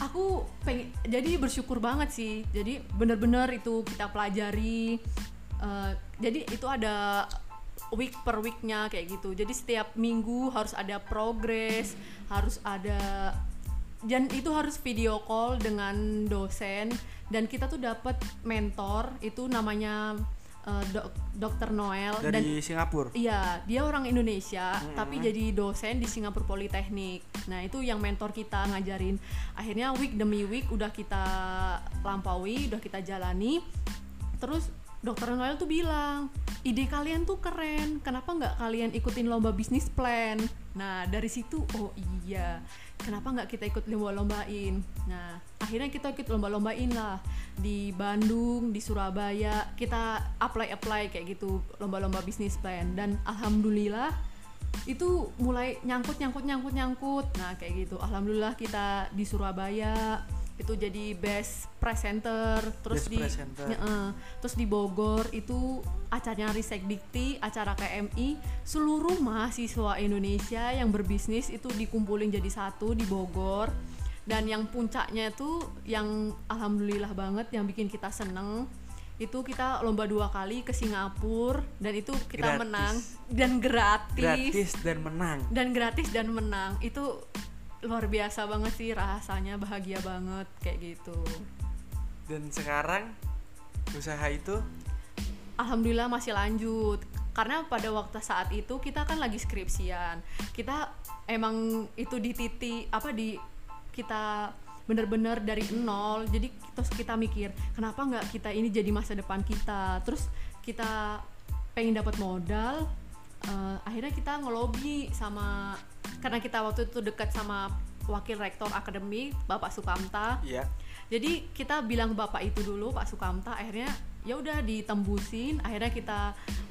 Speaker 2: aku pengen jadi bersyukur banget sih jadi bener-bener itu kita pelajari eh, jadi itu ada week per weeknya kayak gitu jadi setiap minggu harus ada progres harus ada dan itu harus video call dengan dosen dan kita tuh dapat mentor itu namanya eh, dok- dokter Noel dan
Speaker 1: dari Singapura
Speaker 2: Iya, dia orang Indonesia,
Speaker 1: Mm-mm.
Speaker 2: tapi jadi dosen di Singapura Politeknik. Nah, itu yang mentor kita ngajarin. Akhirnya week demi week udah kita lampaui, udah kita jalani. Terus dokter Noel tuh bilang, ide kalian tuh keren, kenapa nggak kalian ikutin lomba bisnis plan? Nah, dari situ, oh iya, kenapa nggak kita ikut lomba-lombain? Nah, akhirnya kita ikut lomba-lombain lah di Bandung, di Surabaya, kita apply-apply kayak gitu lomba-lomba bisnis plan dan alhamdulillah itu mulai nyangkut nyangkut nyangkut nyangkut nah kayak gitu alhamdulillah kita di Surabaya itu jadi best presenter terus
Speaker 1: Best
Speaker 2: di
Speaker 1: presenter.
Speaker 2: Heeh. Eh, terus di Bogor itu acaranya Risek Dikti acara KMI seluruh mahasiswa Indonesia yang berbisnis itu dikumpulin jadi satu di Bogor dan yang puncaknya itu yang alhamdulillah banget yang bikin kita seneng itu kita lomba dua kali ke Singapura dan itu kita
Speaker 1: Gratis.
Speaker 2: menang dan gratis,
Speaker 1: gratis dan menang
Speaker 2: dan gratis dan menang itu luar biasa banget sih rasanya bahagia banget kayak gitu
Speaker 1: dan sekarang usaha itu
Speaker 2: alhamdulillah masih lanjut karena pada waktu saat itu kita kan lagi skripsian kita emang itu di titik apa di kita bener-bener dari nol jadi terus kita mikir kenapa nggak kita ini jadi masa depan kita terus kita pengen dapat modal eh, akhirnya kita ngelobi sama karena kita waktu itu dekat sama wakil rektor akademik bapak Sukamta
Speaker 1: ya
Speaker 2: jadi kita bilang ke bapak itu dulu Pak Sukamta akhirnya ya udah ditembusin akhirnya kita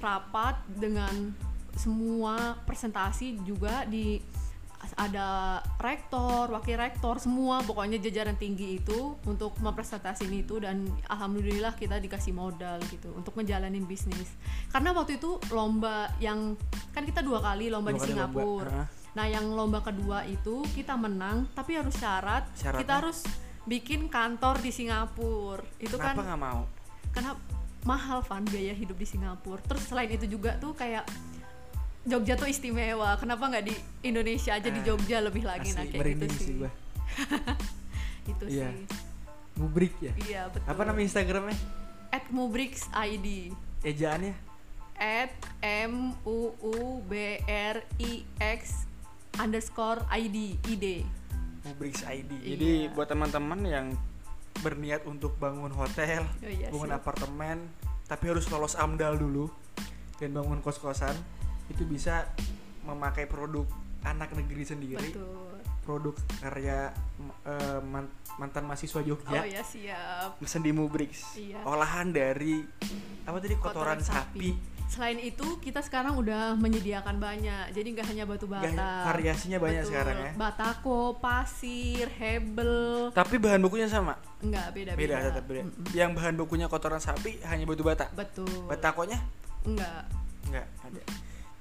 Speaker 2: rapat dengan semua presentasi juga di ada rektor, wakil rektor, semua pokoknya jajaran tinggi itu untuk mempresentasikan itu dan alhamdulillah kita dikasih modal gitu untuk menjalani bisnis. Karena waktu itu lomba yang kan kita dua kali lomba
Speaker 1: Dua
Speaker 2: di
Speaker 1: kali lomba, Ah.
Speaker 2: Singapura.
Speaker 1: heeh.
Speaker 2: Nah, yang lomba kedua itu kita menang, tapi harus syarat
Speaker 1: Syaratnya?
Speaker 2: kita harus bikin kantor di Singapura. Itu kan
Speaker 1: kenapa nggak mau
Speaker 2: karena mahal Van biaya hidup di Singapura. Terus selain itu juga tuh kayak Jogja tuh istimewa. Kenapa nggak di Indonesia aja di
Speaker 1: Ah,
Speaker 2: Jogja lebih lagi nah
Speaker 1: asli
Speaker 2: kayak gitu
Speaker 1: merinding
Speaker 2: sih.
Speaker 1: sih gua
Speaker 2: Itu
Speaker 1: Iya.
Speaker 2: sih.
Speaker 1: mubrik ya
Speaker 2: Iya betul.
Speaker 1: apa nama instagramnya
Speaker 2: At Mubrix ID.
Speaker 1: ejaannya
Speaker 2: At M U U B R I X underscore ID ID.
Speaker 1: Mubriks ID
Speaker 3: Jadi
Speaker 2: Iya.
Speaker 3: buat teman-teman yang
Speaker 1: berniat untuk bangun hotel
Speaker 2: Oh, iya
Speaker 1: bangun
Speaker 2: sih.
Speaker 1: apartemen tapi harus lolos amdal dulu dan bangun kos-kosan itu bisa memakai produk anak negeri sendiri
Speaker 2: Betul.
Speaker 1: produk karya mm, eh, man- mantan mahasiswa Jogja
Speaker 2: Oh ya siap.
Speaker 3: mesen di Mubrix
Speaker 2: Iya.
Speaker 1: olahan dari apa tadi kotoran, sapi,
Speaker 2: Selain itu kita sekarang udah menyediakan banyak. Jadi nggak hanya batu bata.
Speaker 1: Gak- variasinya banyak
Speaker 2: Betul.
Speaker 1: sekarang ya
Speaker 2: Batako, pasir, hebel,
Speaker 1: tapi bahan bukunya sama
Speaker 2: nggak beda Ya, beda.
Speaker 1: beda tetap beda yang bahan bukunya kotoran sapi hanya batu bata
Speaker 2: Betul.
Speaker 1: batakonya
Speaker 2: Nggak.
Speaker 1: Nggak ada.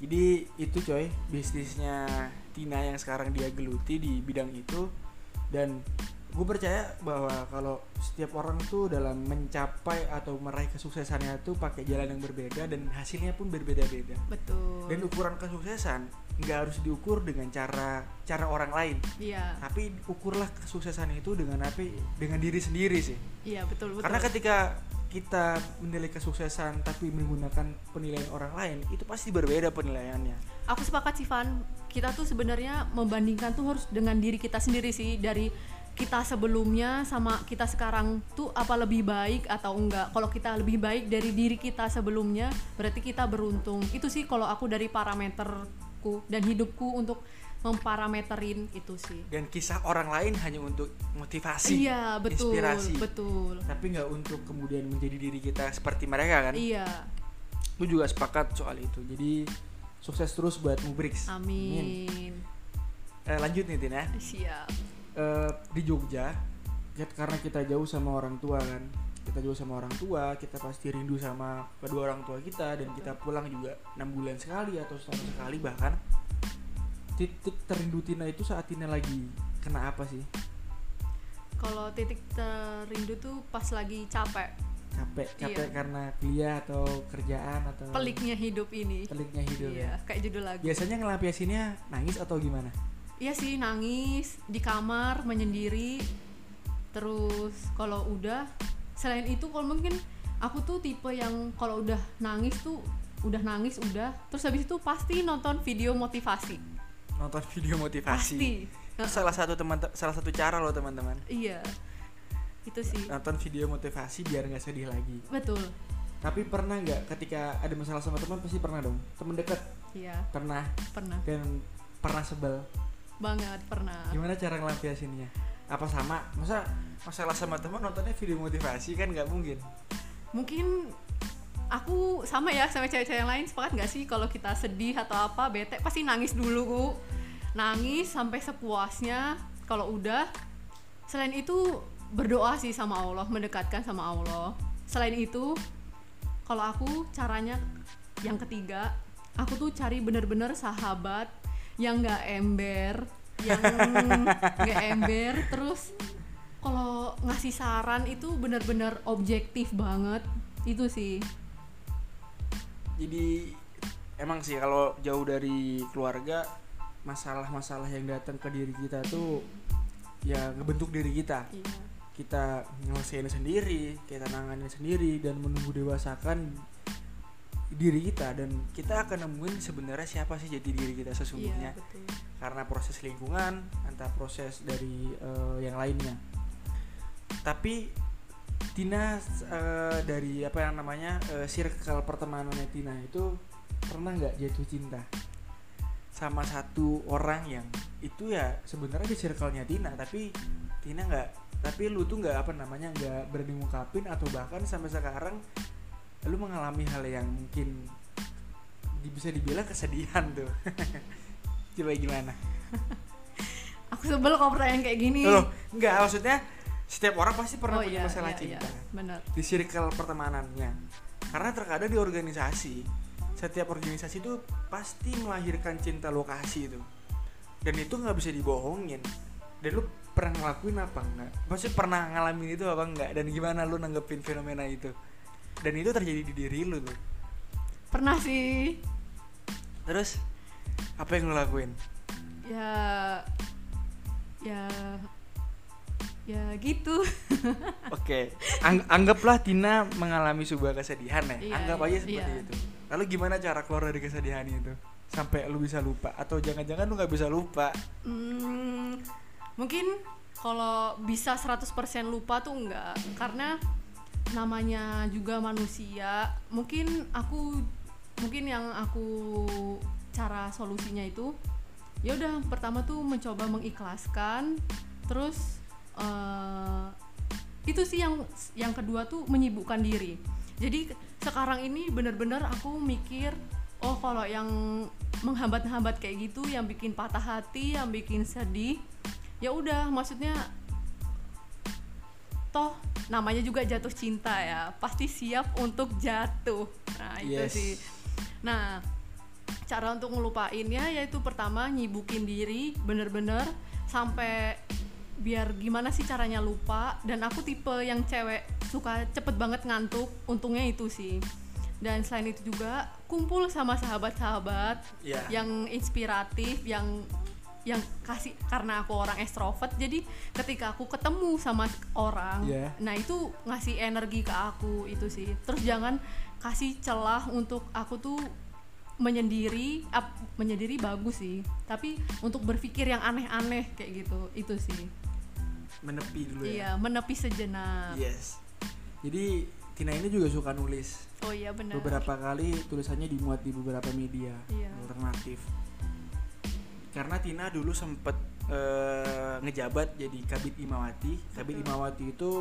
Speaker 1: Jadi itu coy bisnisnya Tina yang sekarang dia geluti di bidang itu dan gue percaya bahwa kalau setiap orang tuh dalam mencapai atau meraih kesuksesannya tuh pakai jalan yang berbeda dan hasilnya pun berbeda-beda.
Speaker 2: Betul.
Speaker 1: Dan ukuran kesuksesan nggak harus diukur dengan cara cara orang lain,
Speaker 2: Iya,
Speaker 1: tapi ukurlah kesuksesan itu dengan apa? Dengan diri sendiri sih.
Speaker 2: iya betul betul.
Speaker 1: Karena kan ketika kita menilai kesuksesan tapi menggunakan penilaian orang lain, itu pasti berbeda penilaiannya.
Speaker 2: aku sepakat sih Van kita tuh sebenarnya membandingkan tuh harus dengan diri kita sendiri sih dari kita sebelumnya sama kita sekarang tuh apa lebih baik atau enggak kalau kita lebih baik dari diri kita sebelumnya berarti kita beruntung itu sih kalau aku dari parameterku dan hidupku untuk memparameterin itu sih
Speaker 1: Dan kisah orang lain hanya untuk motivasi,
Speaker 2: iya betul
Speaker 1: inspirasi,
Speaker 2: betul
Speaker 1: tapi nggak untuk kemudian menjadi diri kita seperti mereka kan?
Speaker 2: iya
Speaker 1: Lu juga sepakat soal itu. Jadi sukses terus buat Mubrix.
Speaker 2: amin
Speaker 1: Eh, lanjut nih Tin ya.
Speaker 2: siap
Speaker 1: Eh, di Jogja, ya karena kita jauh sama orang tua kan, kita jauh sama orang tua, kita pasti rindu sama kedua orang tua kita dan kita pulang juga enam bulan sekali atau setahun sekali bahkan. Titik terindu Tina itu saat Tina lagi kena apa sih?
Speaker 2: kalau titik terindu tuh pas lagi capek
Speaker 1: Capek, capek
Speaker 2: Iya.
Speaker 1: karena kuliah atau kerjaan atau
Speaker 2: peliknya hidup ini
Speaker 1: peliknya hidup.
Speaker 2: Iya,
Speaker 1: ya.
Speaker 2: kayak judul lagu.
Speaker 1: Biasanya ngelampiasinnya nangis atau gimana?
Speaker 2: Iya sih, nangis di kamar menyendiri. Terus kalau udah selain itu kalau mungkin aku tuh tipe yang kalau udah nangis tuh udah nangis udah terus habis itu pasti nonton video motivasi.
Speaker 1: Nonton video motivasi.
Speaker 2: Pasti.
Speaker 1: Itu Salah satu teman salah satu cara loh teman-teman.
Speaker 2: Iya. Itu sih.
Speaker 1: Nonton video motivasi biar nggak sedih lagi.
Speaker 2: Betul.
Speaker 1: Tapi pernah nggak ketika ada masalah sama teman pasti pernah dong. Teman dekat
Speaker 2: Iya,
Speaker 1: pernah
Speaker 2: pernah.
Speaker 1: dan pernah sebel.
Speaker 2: Banget pernah.
Speaker 1: Gimana cara ngelampiasinnya? Apa sama? Masa masalah sama teman nontonnya video motivasi kan nggak mungkin.
Speaker 2: mungkin aku sama ya sama cewek-cewek yang lain sepakat nggak sih kalau kita sedih atau apa bete pasti nangis dulu Bu. nangis sampai sepuasnya kalau udah selain itu berdoa sih sama Allah mendekatkan sama Allah selain itu kalau aku caranya yang ketiga aku tuh cari bener-bener sahabat yang nggak ember yang nggak ember terus kalau ngasih saran itu bener-bener objektif banget itu sih
Speaker 1: Jadi emang sih kalau jauh dari keluarga masalah-masalah yang datang ke diri kita tuh ya ngebentuk diri kita.
Speaker 2: iya
Speaker 1: kita nyelesain sendiri kita nanganin sendiri dan menunggu dewasakan diri kita dan kita akan nemuin sebenarnya siapa sih jadi diri kita
Speaker 2: iya
Speaker 1: sesungguhnya
Speaker 2: betul
Speaker 1: karena proses lingkungan antara proses dari eh, yang lainnya tapi Tina eh, dari apa yang namanya eh, circle pertemanannya Tina itu pernah nggak jatuh cinta sama satu orang yang itu ya sebenarnya di circle-nya Tina tapi Tina nggak tapi lu tuh nggak apa namanya nggak berani ngungkapin atau bahkan sampai sekarang lu mengalami hal yang mungkin di- bisa dibilang kesedihan tuh coba gimana
Speaker 2: aku sebel kalau pertanyaan kayak gini
Speaker 1: Loh, nggak maksudnya setiap orang pasti pernah
Speaker 2: Oh,
Speaker 1: punya
Speaker 2: iya,
Speaker 1: masalah gitu?
Speaker 2: iya, iya.
Speaker 1: cinta
Speaker 2: benar
Speaker 1: di circle pertemanannya. Karena terkadang di organisasi, setiap organisasi itu pasti melahirkan cinta lokasi itu. Dan itu nggak bisa dibohongin. Dan lu pernah ngelakuin apa enggak? Pasti pernah ngalamin itu apa enggak? Dan gimana lu nanggepin fenomena itu? Dan itu terjadi di diri lu tuh.
Speaker 2: pernah sih
Speaker 1: Terus apa yang lu lakuin?
Speaker 2: ya ya ya gitu
Speaker 1: Oke, Ang- anggaplah Tina mengalami sebuah kesedihan ya.
Speaker 2: Iya,
Speaker 1: Anggap aja
Speaker 2: iya,
Speaker 1: seperti
Speaker 2: iya.
Speaker 1: itu. Lalu gimana cara keluar dari kesedihan itu? Sampai lu bisa lupa atau jangan-jangan lu nggak bisa lupa.
Speaker 2: Hmm, mungkin kalau bisa 100% lupa tuh enggak karena namanya juga manusia mungkin aku mungkin yang aku cara solusinya itu ya udah pertama tuh mencoba mengikhlaskan terus eh, itu sih yang yang kedua tuh menyibukkan diri jadi sekarang ini bener-bener aku mikir oh kalau yang menghambat-hambat kayak gitu yang bikin patah hati yang bikin sedih ya udah maksudnya toh namanya juga jatuh cinta ya pasti siap untuk jatuh nah itu
Speaker 1: Yes.
Speaker 2: sih nah cara untuk ngelupainnya yaitu pertama nyibukin diri bener-bener sampai biar gimana sih caranya lupa dan aku tipe yang cewek suka cepet banget ngantuk untungnya itu sih dan selain itu juga kumpul sama sahabat-sahabat
Speaker 1: Iya.
Speaker 2: yang inspiratif yang yang kasih karena aku orang ekstrovert jadi ketika aku ketemu sama orang
Speaker 1: Iya.
Speaker 2: nah itu ngasih energi ke aku itu sih terus jangan kasih celah untuk aku tuh menyendiri ap- menyendiri bagus sih tapi untuk berpikir yang aneh-aneh kayak gitu itu sih
Speaker 1: Menepi dulu
Speaker 2: iya
Speaker 1: ya.
Speaker 2: menepi sejenak
Speaker 1: Yes. Jadi Tina ini juga suka nulis.
Speaker 2: oh iya benar
Speaker 1: Beberapa kali tulisannya dimuat di beberapa media
Speaker 2: Iya.
Speaker 1: alternatif. Karena Tina dulu sempet eh, ngejabat jadi Kabit Imawati. Kabit
Speaker 2: Betul.
Speaker 1: Imawati itu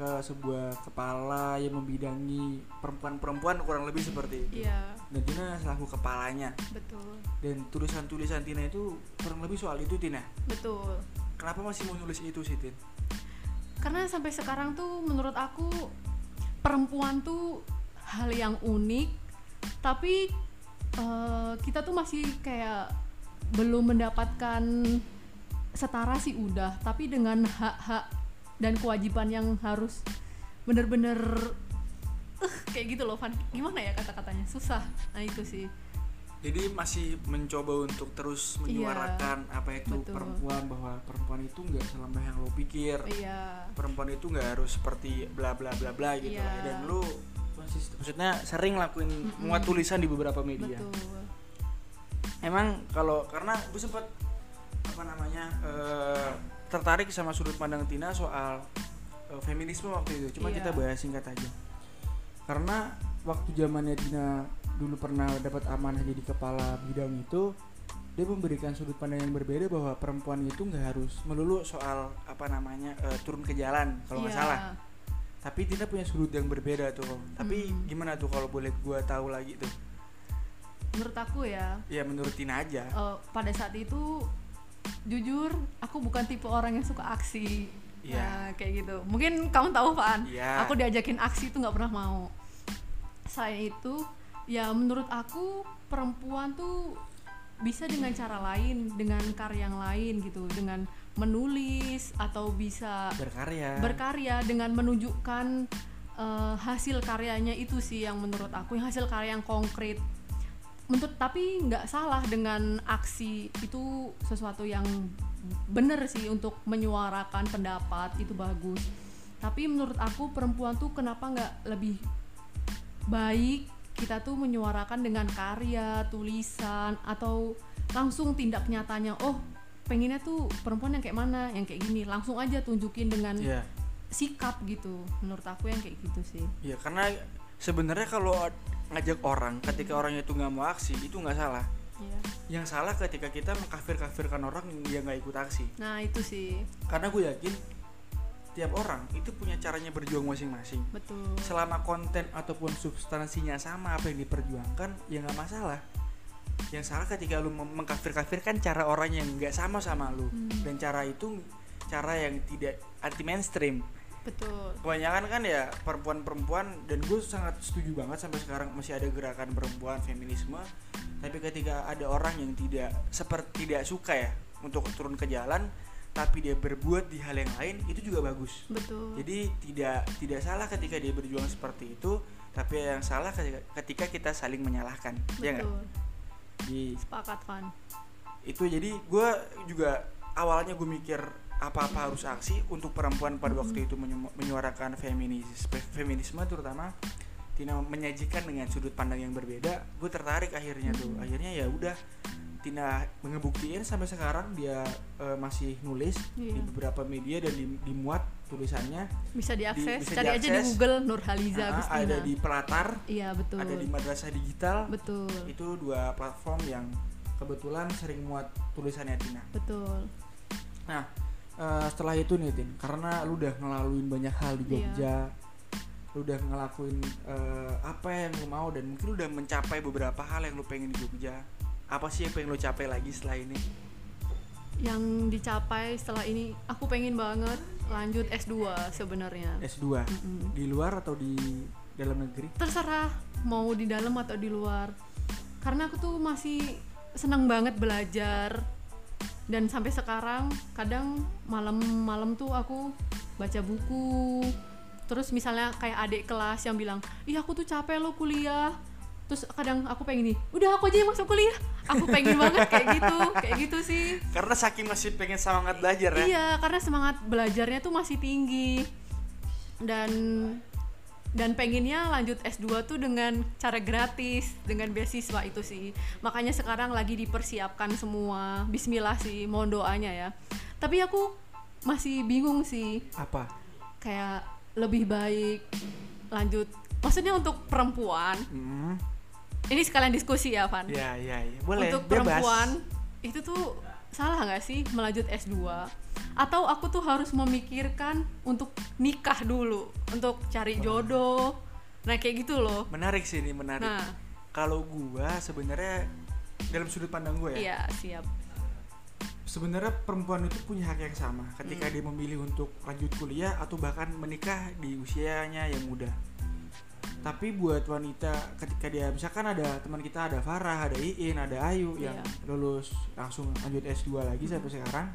Speaker 1: ke sebuah kepala yang membidangi perempuan-perempuan kurang lebih seperti itu.
Speaker 2: iya
Speaker 1: Dan Tina selaku kepalanya.
Speaker 2: betul
Speaker 1: Dan tulisan-tulisan Tina itu kurang lebih soal itu Tina.
Speaker 2: betul
Speaker 1: Kenapa masih mau nulis itu sih Tin?
Speaker 2: karena sampai sekarang tuh menurut aku perempuan tuh hal yang unik tapi eh, kita tuh masih kayak belum mendapatkan setara sih udah tapi dengan hak-hak dan kewajiban yang harus bener-bener eh, kayak gitu loh Van gimana ya kata-katanya susah nah itu sih
Speaker 1: Jadi masih mencoba untuk terus menyuarakan apa itu
Speaker 2: Iya. betul.
Speaker 1: perempuan bahwa perempuan itu nggak selembah yang lo pikir.
Speaker 2: iya
Speaker 1: perempuan itu nggak harus seperti bla bla bla bla gitu
Speaker 2: Iya.
Speaker 1: lah. dan lu konsisten- maksudnya sering lakuin
Speaker 2: Mm-mm.
Speaker 1: muat tulisan di beberapa media
Speaker 2: betul
Speaker 1: emang kalau karena gue sempet apa namanya eh, tertarik sama sudut pandang Tina soal eh, feminisme waktu itu cuma
Speaker 2: Iya.
Speaker 1: kita bahas singkat aja karena waktu zamannya Tina dulu pernah dapat amanah jadi kepala bidang itu dia memberikan sudut pandang yang berbeda bahwa perempuan itu nggak harus melulu soal apa namanya eh, turun ke jalan kalau nggak
Speaker 2: Iya.
Speaker 1: salah tapi Tina punya sudut yang berbeda tuh tapi
Speaker 2: Hmm.
Speaker 1: gimana tuh kalau boleh gua tahu lagi tuh
Speaker 2: menurut aku ya
Speaker 1: ya menurut Tina aja
Speaker 2: Eh, pada saat itu jujur aku bukan tipe orang yang suka aksi
Speaker 1: Iya.
Speaker 2: Nah, kayak gitu mungkin kamu tahu Faan
Speaker 1: Iya.
Speaker 2: aku diajakin aksi itu nggak pernah mau saya itu ya menurut aku perempuan tuh bisa dengan cara lain dengan karya yang lain gitu dengan menulis atau bisa
Speaker 1: berkarya
Speaker 2: berkarya dengan menunjukkan eh, hasil karyanya itu sih yang menurut aku yang hasil karya yang konkret menurut tapi nggak salah dengan aksi itu sesuatu yang bener sih untuk menyuarakan pendapat itu bagus tapi menurut aku perempuan tuh kenapa nggak lebih baik kita tuh menyuarakan dengan karya tulisan atau langsung tindak nyatanya oh pengennya tuh perempuan yang kayak mana yang kayak gini langsung aja tunjukin dengan
Speaker 1: Iya.
Speaker 2: sikap gitu menurut aku yang kayak gitu sih
Speaker 1: Iya, karena sebenarnya kalau ngajak orang ketika orang itu nggak mau aksi itu nggak salah.
Speaker 2: Iya.
Speaker 1: Yang salah ketika kita mengkafir-kafirkan orang yang nggak ikut aksi.
Speaker 2: nah itu sih
Speaker 1: Karena gue yakin tiap orang itu punya caranya berjuang masing-masing.
Speaker 2: betul
Speaker 1: Selama konten ataupun substansinya sama apa yang diperjuangkan, ya nggak masalah. Yang salah ketika lu mem- mengkafir-kafirkan cara orang yang nggak sama sama lu
Speaker 2: Hmm.
Speaker 1: dan cara itu cara yang tidak anti mainstream.
Speaker 2: betul
Speaker 1: kebanyakan kan ya perempuan-perempuan dan gue sangat setuju banget sampai sekarang masih ada gerakan perempuan feminisme tapi ketika ada orang yang tidak seperti tidak suka ya untuk turun ke jalan tapi dia berbuat di hal yang lain itu juga bagus
Speaker 2: betul
Speaker 1: jadi tidak tidak salah ketika dia berjuang seperti itu tapi yang salah ketika, ketika kita saling menyalahkan ya nggak
Speaker 2: betul
Speaker 1: Di-
Speaker 2: sepakat kan
Speaker 1: itu jadi gue juga awalnya gue mikir apa-apa harus aksi untuk perempuan pada waktu itu menyu- menyuarakan feminis fe- feminisme terutama Tina menyajikan dengan sudut pandang yang berbeda gue tertarik akhirnya tuh
Speaker 2: Mhm.
Speaker 1: akhirnya ya udah Tina ngebuktiin sampai sekarang dia eh, masih nulis
Speaker 2: Iya.
Speaker 1: di beberapa media dan di- dimuat tulisannya
Speaker 2: bisa diakses
Speaker 1: bisa
Speaker 2: cari aja di
Speaker 1: diakses.
Speaker 2: Google Nurhaliza
Speaker 1: Ah,
Speaker 2: Agustina
Speaker 1: ada di Pelatar
Speaker 2: iya betul
Speaker 1: ada di Madrasah Digital
Speaker 2: betul
Speaker 1: itu dua platform yang kebetulan sering muat tulisannya Tina
Speaker 2: betul
Speaker 1: Nah, eh, setelah itu nih Tin, karena lu udah ngelaluin banyak hal di
Speaker 2: Iya.
Speaker 1: Jogja, lu udah ngelakuin eh, apa yang lu mau dan mungkin lu udah mencapai beberapa hal yang lu pengen di Jogja. Apa sih yang pengen lu capai lagi setelah ini?
Speaker 2: yang dicapai setelah ini aku pengen banget lanjut S2 sebenarnya
Speaker 1: S2
Speaker 2: Mm-mm.
Speaker 1: di luar atau di dalam negeri?
Speaker 2: terserah mau di dalam atau di luar karena aku tuh masih senang banget belajar dan sampai sekarang kadang malam-malam tuh aku baca buku terus misalnya kayak adik kelas yang bilang ih aku tuh capek lo kuliah terus kadang aku pengen nih udah aku aja yang masuk kuliah aku pengen banget kayak gitu kayak gitu sih
Speaker 1: Karena saking masih pengen semangat belajar ya.
Speaker 2: Iya, karena semangat belajarnya tuh masih tinggi. Dan dan pengennya lanjut S2 tuh dengan cara gratis, dengan beasiswa itu sih. Makanya sekarang lagi dipersiapkan semua. Bismillah sih, mohon doanya ya. Tapi aku masih bingung sih
Speaker 1: Apa?
Speaker 2: kayak lebih baik lanjut maksudnya untuk perempuan.
Speaker 1: Hmm,
Speaker 2: Ini sekalian diskusi ya, Van
Speaker 1: ya, ya, ya. Boleh.
Speaker 2: untuk
Speaker 1: bebas.
Speaker 2: perempuan itu tuh salah nggak sih melanjut S2 atau aku tuh harus memikirkan untuk nikah dulu untuk cari jodoh nah kayak gitu loh
Speaker 1: Menarik sih ini menarik.
Speaker 2: nah
Speaker 1: Kalau gua sebenarnya dalam sudut pandang gua ya.
Speaker 2: iya siap
Speaker 1: sebenarnya perempuan itu punya hak yang sama ketika dia memilih untuk lanjut kuliah atau bahkan menikah di usianya yang muda. Tapi buat wanita ketika dia misalkan ada teman kita ada Farah, ada Iin, ada Ayu yang
Speaker 2: Iya.
Speaker 1: lulus langsung lanjut S2 lagi sampai sekarang.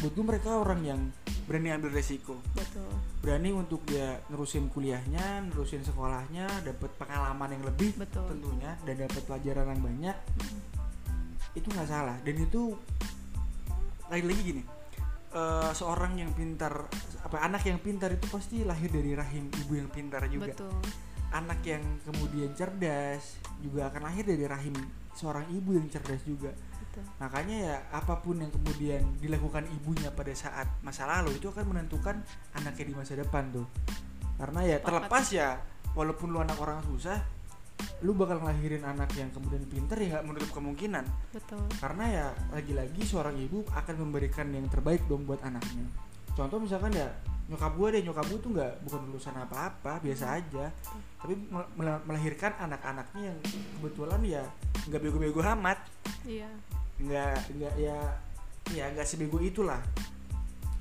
Speaker 1: Buat gue mereka orang yang berani ambil resiko,
Speaker 2: betul
Speaker 1: berani untuk dia nerusin kuliahnya, nerusin sekolahnya, dapat pengalaman yang lebih
Speaker 2: betul
Speaker 1: tentunya dan dapat pelajaran yang banyak
Speaker 2: Mm.
Speaker 1: itu nggak salah dan itu lagi-lagi gini eh, seorang yang pintar apa anak yang pintar itu pasti lahir dari rahim ibu yang pintar juga
Speaker 2: betul
Speaker 1: anak yang kemudian cerdas juga akan lahir dari rahim seorang ibu yang cerdas juga
Speaker 2: betul
Speaker 1: makanya ya apapun yang kemudian dilakukan ibunya pada saat masa lalu itu akan menentukan anaknya di masa depan tuh karena ya
Speaker 2: Sepakat.
Speaker 1: terlepas ya walaupun lu anak orang susah lu bakal ngelahirin anak yang kemudian pinter ya nggak menutup kemungkinan
Speaker 2: betul
Speaker 1: karena ya lagi-lagi seorang ibu akan memberikan yang terbaik dong buat anaknya contoh misalkan ya nyokap gue deh nyokap gue tuh nggak bukan lulusan apa-apa
Speaker 2: Hmm.
Speaker 1: biasa aja tapi mel- mel- melahirkan anak-anaknya yang kebetulan ya nggak bego-bego amat
Speaker 2: iya
Speaker 1: nggak nggak ya ya nggak sebego itulah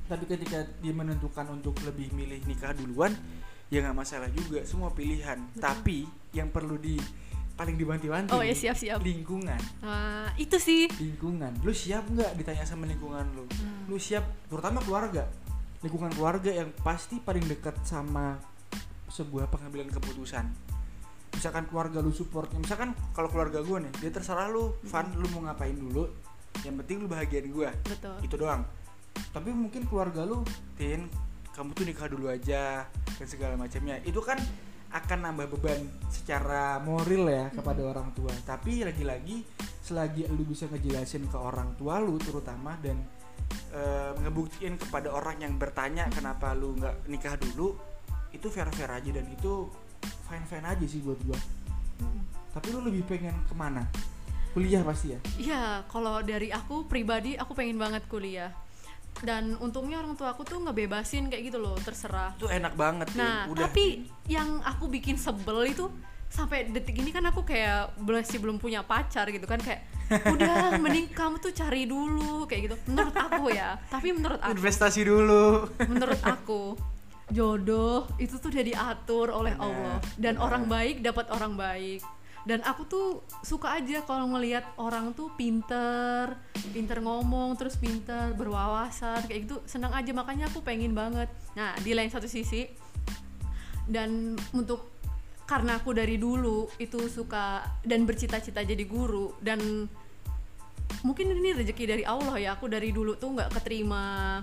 Speaker 1: tapi ketika dia menentukan untuk lebih milih nikah duluan ya nggak masalah juga semua pilihan
Speaker 2: Betul.
Speaker 1: tapi yang perlu di paling dibanti-banti
Speaker 2: oh ya
Speaker 1: nih,
Speaker 2: siap siap
Speaker 1: lingkungan
Speaker 2: nah itu sih
Speaker 1: lingkungan lu siap nggak ditanya sama lingkungan lu lu
Speaker 2: Hmm,
Speaker 1: siap terutama keluarga lingkungan keluarga yang pasti paling dekat sama sebuah pengambilan keputusan misalkan keluarga lu supportnya misalkan kalau keluarga gue nih dia terserah lu Van lu mau ngapain dulu yang penting lu bahagiain gue
Speaker 2: betul
Speaker 1: itu doang tapi mungkin keluarga lu tin kamu tuh nikah dulu aja dan segala macamnya itu kan akan nambah beban secara moral ya kepada orang tua tapi lagi-lagi selagi lu bisa ngejelasin ke orang tua lu terutama dan eh, ngebuktiin kepada orang yang bertanya kenapa lu nggak nikah dulu itu fair fair aja dan itu fine fine aja sih buat gua Hmm.
Speaker 2: Mm.
Speaker 1: tapi lu lebih pengen kemana kuliah pasti ya
Speaker 2: Iya, kalau dari aku pribadi aku pengen banget kuliah. Dan untungnya orang tua aku tuh ngebebasin kayak gitu loh, terserah.
Speaker 1: itu enak banget Tin.
Speaker 2: Nah,
Speaker 1: udah
Speaker 2: tapi yang aku bikin sebel itu sampai detik ini kan aku kayak masih belum punya pacar gitu kan kayak udah mending kamu tuh cari dulu kayak gitu. Menurut aku ya. Tapi menurut
Speaker 1: Tin.
Speaker 2: aku
Speaker 1: investasi dulu
Speaker 2: menurut aku jodoh itu tuh udah diatur oleh
Speaker 1: Benar,
Speaker 2: Allah dan
Speaker 1: benar.
Speaker 2: orang baik dapat orang baik dan aku tuh suka aja kalau ngelihat orang tuh pinter pinter ngomong terus pinter berwawasan kayak gitu senang aja makanya aku pengen banget nah di lain satu sisi dan untuk karena aku dari dulu itu suka dan bercita-cita jadi guru dan mungkin ini rezeki dari Allah ya aku dari dulu tuh nggak keterima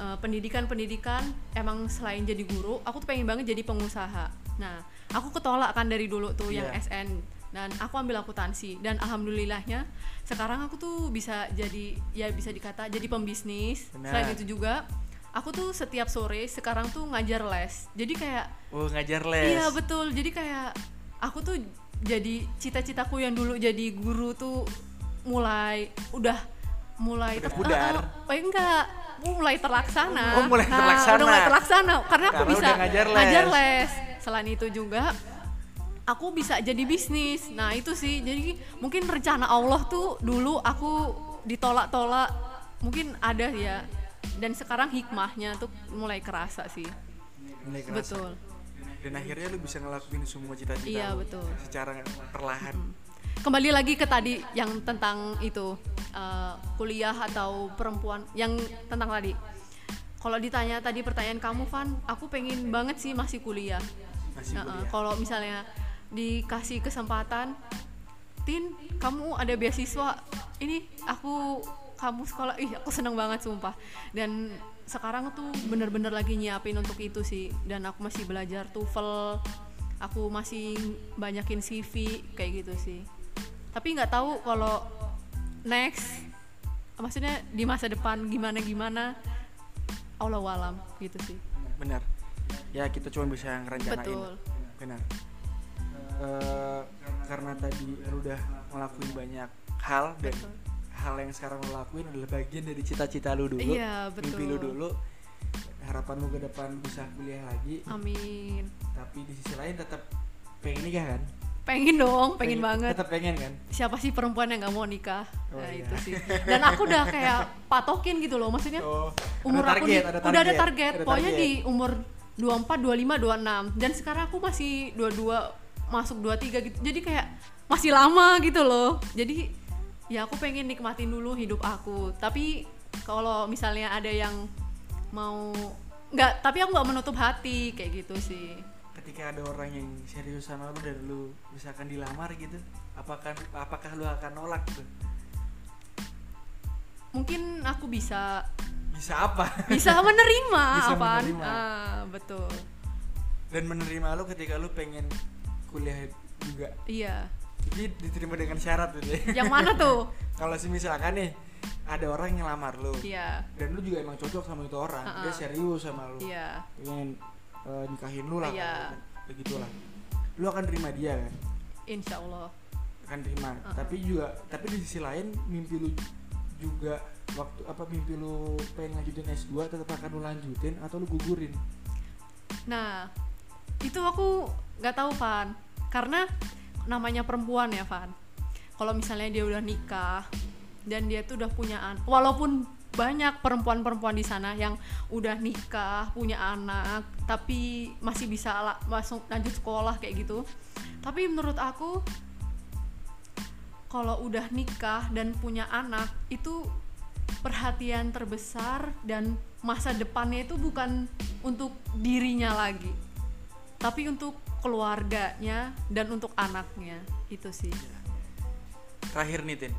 Speaker 2: eh, pendidikan-pendidikan emang selain jadi guru aku tuh pengen banget jadi pengusaha nah aku ketolak kan dari dulu tuh yang
Speaker 1: Iya.
Speaker 2: SN dan aku ambil akuntansi dan alhamdulillahnya sekarang aku tuh bisa jadi ya bisa dikata jadi pembisnis
Speaker 1: Benar.
Speaker 2: selain itu juga aku tuh setiap sore sekarang tuh ngajar les jadi kayak
Speaker 1: oh ngajar les
Speaker 2: Iya betul. Jadi kayak aku tuh jadi cita-citaku yang dulu jadi guru tuh mulai udah mulai
Speaker 1: Udah
Speaker 2: ter-
Speaker 1: pudar.
Speaker 2: Eh, eh, eh, enggak mulai terlaksana.
Speaker 1: Oh, mulai
Speaker 2: Nah,
Speaker 1: terlaksana.
Speaker 2: udah mulai terlaksana karena aku
Speaker 1: Karena
Speaker 2: bisa
Speaker 1: udah ngajar les.
Speaker 2: les. Selain itu juga aku bisa jadi bisnis. Nah, itu sih. Jadi mungkin rencana Allah tuh dulu aku ditolak-tolak. Mungkin ada ya. Dan sekarang hikmahnya tuh mulai kerasa sih.
Speaker 1: Mulai kerasa.
Speaker 2: Betul.
Speaker 1: dan akhirnya lu bisa ngelakuin semua cita-cita
Speaker 2: Iya,
Speaker 1: lu
Speaker 2: betul.
Speaker 1: secara perlahan
Speaker 2: kembali lagi ke tadi yang tentang itu eh, kuliah atau perempuan yang tentang tadi kalau ditanya tadi pertanyaan kamu Van aku pengen banget sih masih kuliah
Speaker 1: masih
Speaker 2: Nah, eh,
Speaker 1: kuliah
Speaker 2: kalau misalnya dikasih kesempatan Tin kamu ada beasiswa ini aku kamu sekolah ih aku seneng banget sumpah dan sekarang tuh bener-bener lagi nyiapin untuk itu sih dan aku masih belajar TOEFL aku masih banyakin CV kayak gitu sih tapi nggak tahu kalau next maksudnya di masa depan gimana gimana Allah walam gitu sih
Speaker 1: benar ya kita cuma bisa ngerencanain
Speaker 2: betul
Speaker 1: benar Eh, karena tadi lu udah ngelakuin banyak hal dan
Speaker 2: betul
Speaker 1: hal yang sekarang lu lakuin adalah bagian dari cita-cita lu dulu
Speaker 2: iya betul
Speaker 1: mimpi lu dulu harapan lu ke depan bisa kuliah lagi
Speaker 2: Oh. Amin.
Speaker 1: tapi di sisi lain tetap pengen nikah kan
Speaker 2: Pengen dong, pengen banget.
Speaker 1: tetap pengen kan
Speaker 2: Siapa sih perempuan yang nggak mau nikah?
Speaker 1: Oh,
Speaker 2: nah,
Speaker 1: iya.
Speaker 2: itu sih. Dan aku udah kayak patokin gitu loh, maksudnya
Speaker 1: oh,
Speaker 2: umur
Speaker 1: ada target,
Speaker 2: aku di-
Speaker 1: ada
Speaker 2: udah ada target.
Speaker 1: ada
Speaker 2: Pokoknya
Speaker 1: target.
Speaker 2: di umur 24, 25, 26 dan sekarang aku masih 22 masuk 23 gitu. Jadi kayak masih lama gitu loh. Jadi ya aku pengen nikmatin dulu hidup aku. Tapi kalau misalnya ada yang mau nggak, tapi aku nggak menutup hati kayak gitu sih.
Speaker 1: ketika ada orang yang serius sama lu dan lu misalkan dilamar gitu apakah apakah lu akan nolak gitu? tuh
Speaker 2: Mungkin aku bisa
Speaker 1: bisa apa
Speaker 2: bisa menerima
Speaker 1: Bisa
Speaker 2: apaan
Speaker 1: menerima.
Speaker 2: Ah, betul
Speaker 1: dan menerima lu ketika lu pengen kuliah juga
Speaker 2: iya
Speaker 1: jadi diterima dengan syarat gitu ya
Speaker 2: yang mana tuh
Speaker 1: kalau misalkan nih ada orang yang lamar lu
Speaker 2: iya
Speaker 1: dan lu juga emang cocok sama itu orang
Speaker 2: Ha-ha.
Speaker 1: dia serius sama lu
Speaker 2: iya
Speaker 1: pengen eh, nikahin lu lah
Speaker 2: Iya.
Speaker 1: begitu lah lu akan terima dia kan
Speaker 2: insya Allah
Speaker 1: akan terima
Speaker 2: Uh-uh.
Speaker 1: tapi juga tapi di sisi lain mimpi lu juga waktu apa mimpi lu pengen lanjutin S2 tetap akan lu lanjutin atau lu gugurin
Speaker 2: nah itu aku nggak tahu Van karena namanya perempuan ya Van kalau misalnya dia udah nikah dan dia tuh udah punya anak walaupun banyak perempuan-perempuan di sana yang udah nikah punya anak tapi masih bisa la- masuk lanjut sekolah kayak gitu tapi menurut aku kalau udah nikah dan punya anak itu perhatian terbesar dan masa depannya itu bukan untuk dirinya lagi tapi untuk keluarganya dan untuk anaknya itu sih
Speaker 1: terakhir nih Tin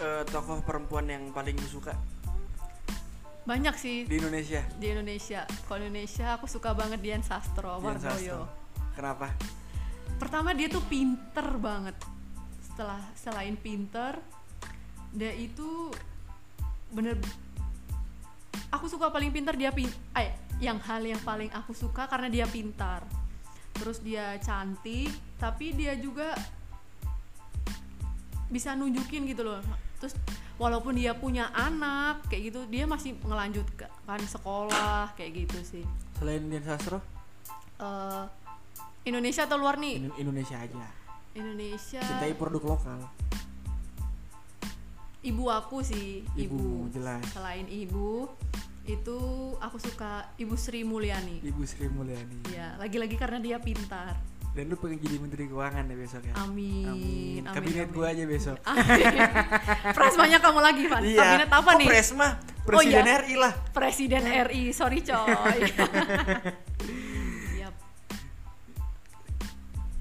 Speaker 1: Eh, tokoh perempuan yang paling lu suka
Speaker 2: banyak sih
Speaker 1: di Indonesia
Speaker 2: di Indonesia kalau Indonesia aku suka banget Dian Sastro
Speaker 1: Dian Sastro.
Speaker 2: Wardoyo
Speaker 1: kenapa
Speaker 2: pertama dia tuh pinter banget setelah selain pinter dia itu bener aku suka paling pinter dia pin eh, yang hal yang paling aku suka karena dia pintar terus dia cantik tapi dia juga bisa nunjukin gitu loh terus walaupun dia punya anak kayak gitu dia masih ngelanjutkan sekolah kayak gitu sih
Speaker 1: selain Dian Sastro
Speaker 2: Eh, Indonesia atau luar nih
Speaker 1: Indo- Indonesia aja
Speaker 2: Iya. Indonesia
Speaker 1: cintai produk lokal
Speaker 2: ibu aku sih ibu,
Speaker 1: Ibumu, jelas.
Speaker 2: selain ibu itu aku suka ibu Sri Mulyani
Speaker 1: Ibu Sri Mulyani
Speaker 2: ya lagi-lagi karena dia pintar
Speaker 1: dan lu pengen jadi Menteri Keuangan ya besok ya
Speaker 2: amin, amin
Speaker 1: kabinet
Speaker 2: amin.
Speaker 1: gua aja besok
Speaker 2: Amin. Prasmanya kamu lagi Van kabinet apa
Speaker 1: Iya. Kok Iya.
Speaker 2: nih
Speaker 1: Presma Presiden
Speaker 2: iya.
Speaker 1: RI lah
Speaker 2: presiden RI sorry coy Yap.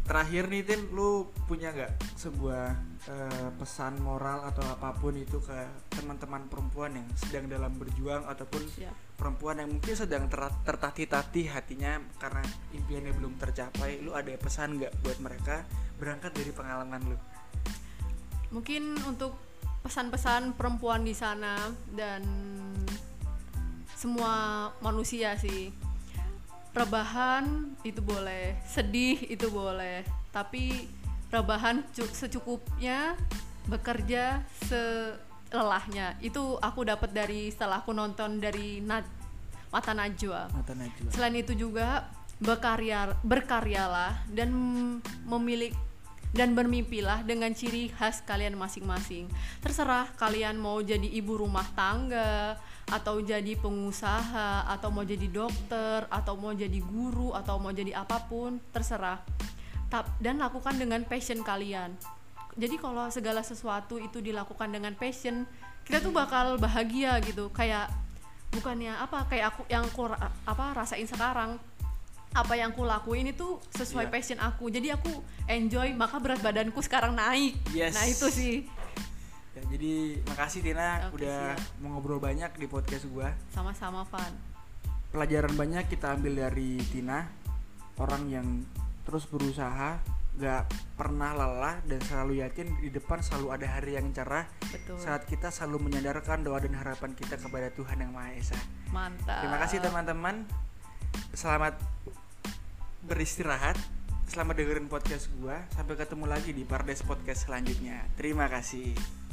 Speaker 1: terakhir nih Tin lu punya nggak sebuah eh, pesan moral atau apapun itu ke teman-teman perempuan yang sedang dalam berjuang ataupun
Speaker 2: siap.
Speaker 1: perempuan yang mungkin sedang ter- tertatih-tatih hatinya karena impiannya belum tercapai lu ada pesan nggak buat mereka berangkat dari pengalaman lu
Speaker 2: mungkin untuk pesan-pesan perempuan di sana dan semua manusia sih rebahan itu boleh sedih itu boleh tapi rebahan cu- secukupnya bekerja selelahnya itu aku dapat dari setelah aku nonton dari Nat, mata Najwa
Speaker 1: mata najwa
Speaker 2: Selain itu juga berkarya berkaryalah dan memiliki dan bermimpilah dengan ciri khas kalian masing-masing. Terserah kalian mau jadi ibu rumah tangga atau jadi pengusaha atau mau jadi dokter atau mau jadi guru atau mau jadi apapun, terserah. Tap- dan lakukan dengan passion kalian. Jadi kalau segala sesuatu itu dilakukan dengan passion, kita tuh bakal bahagia gitu. Kayak bukannya apa kayak aku yang aku ra- apa rasain sekarang apa yang aku lakuin itu
Speaker 1: Iya.
Speaker 2: sesuai passion aku jadi aku enjoy maka berat badanku sekarang naik
Speaker 1: Yes.
Speaker 2: nah itu sih
Speaker 1: ya, jadi makasih Tina
Speaker 2: Oke,
Speaker 1: udah
Speaker 2: siap.
Speaker 1: mau ngobrol banyak di podcast gua
Speaker 2: sama-sama Van
Speaker 1: pelajaran banyak kita ambil dari Tina orang yang terus berusaha gak pernah lelah dan selalu yakin di depan selalu ada hari yang cerah
Speaker 2: betul
Speaker 1: saat kita selalu menyadarkan doa dan harapan kita kepada Tuhan yang Maha Esa
Speaker 2: mantap
Speaker 1: terima kasih teman-teman selamat beristirahat selamat dengerin podcast gua sampai ketemu lagi di Pardes Podcast selanjutnya terima kasih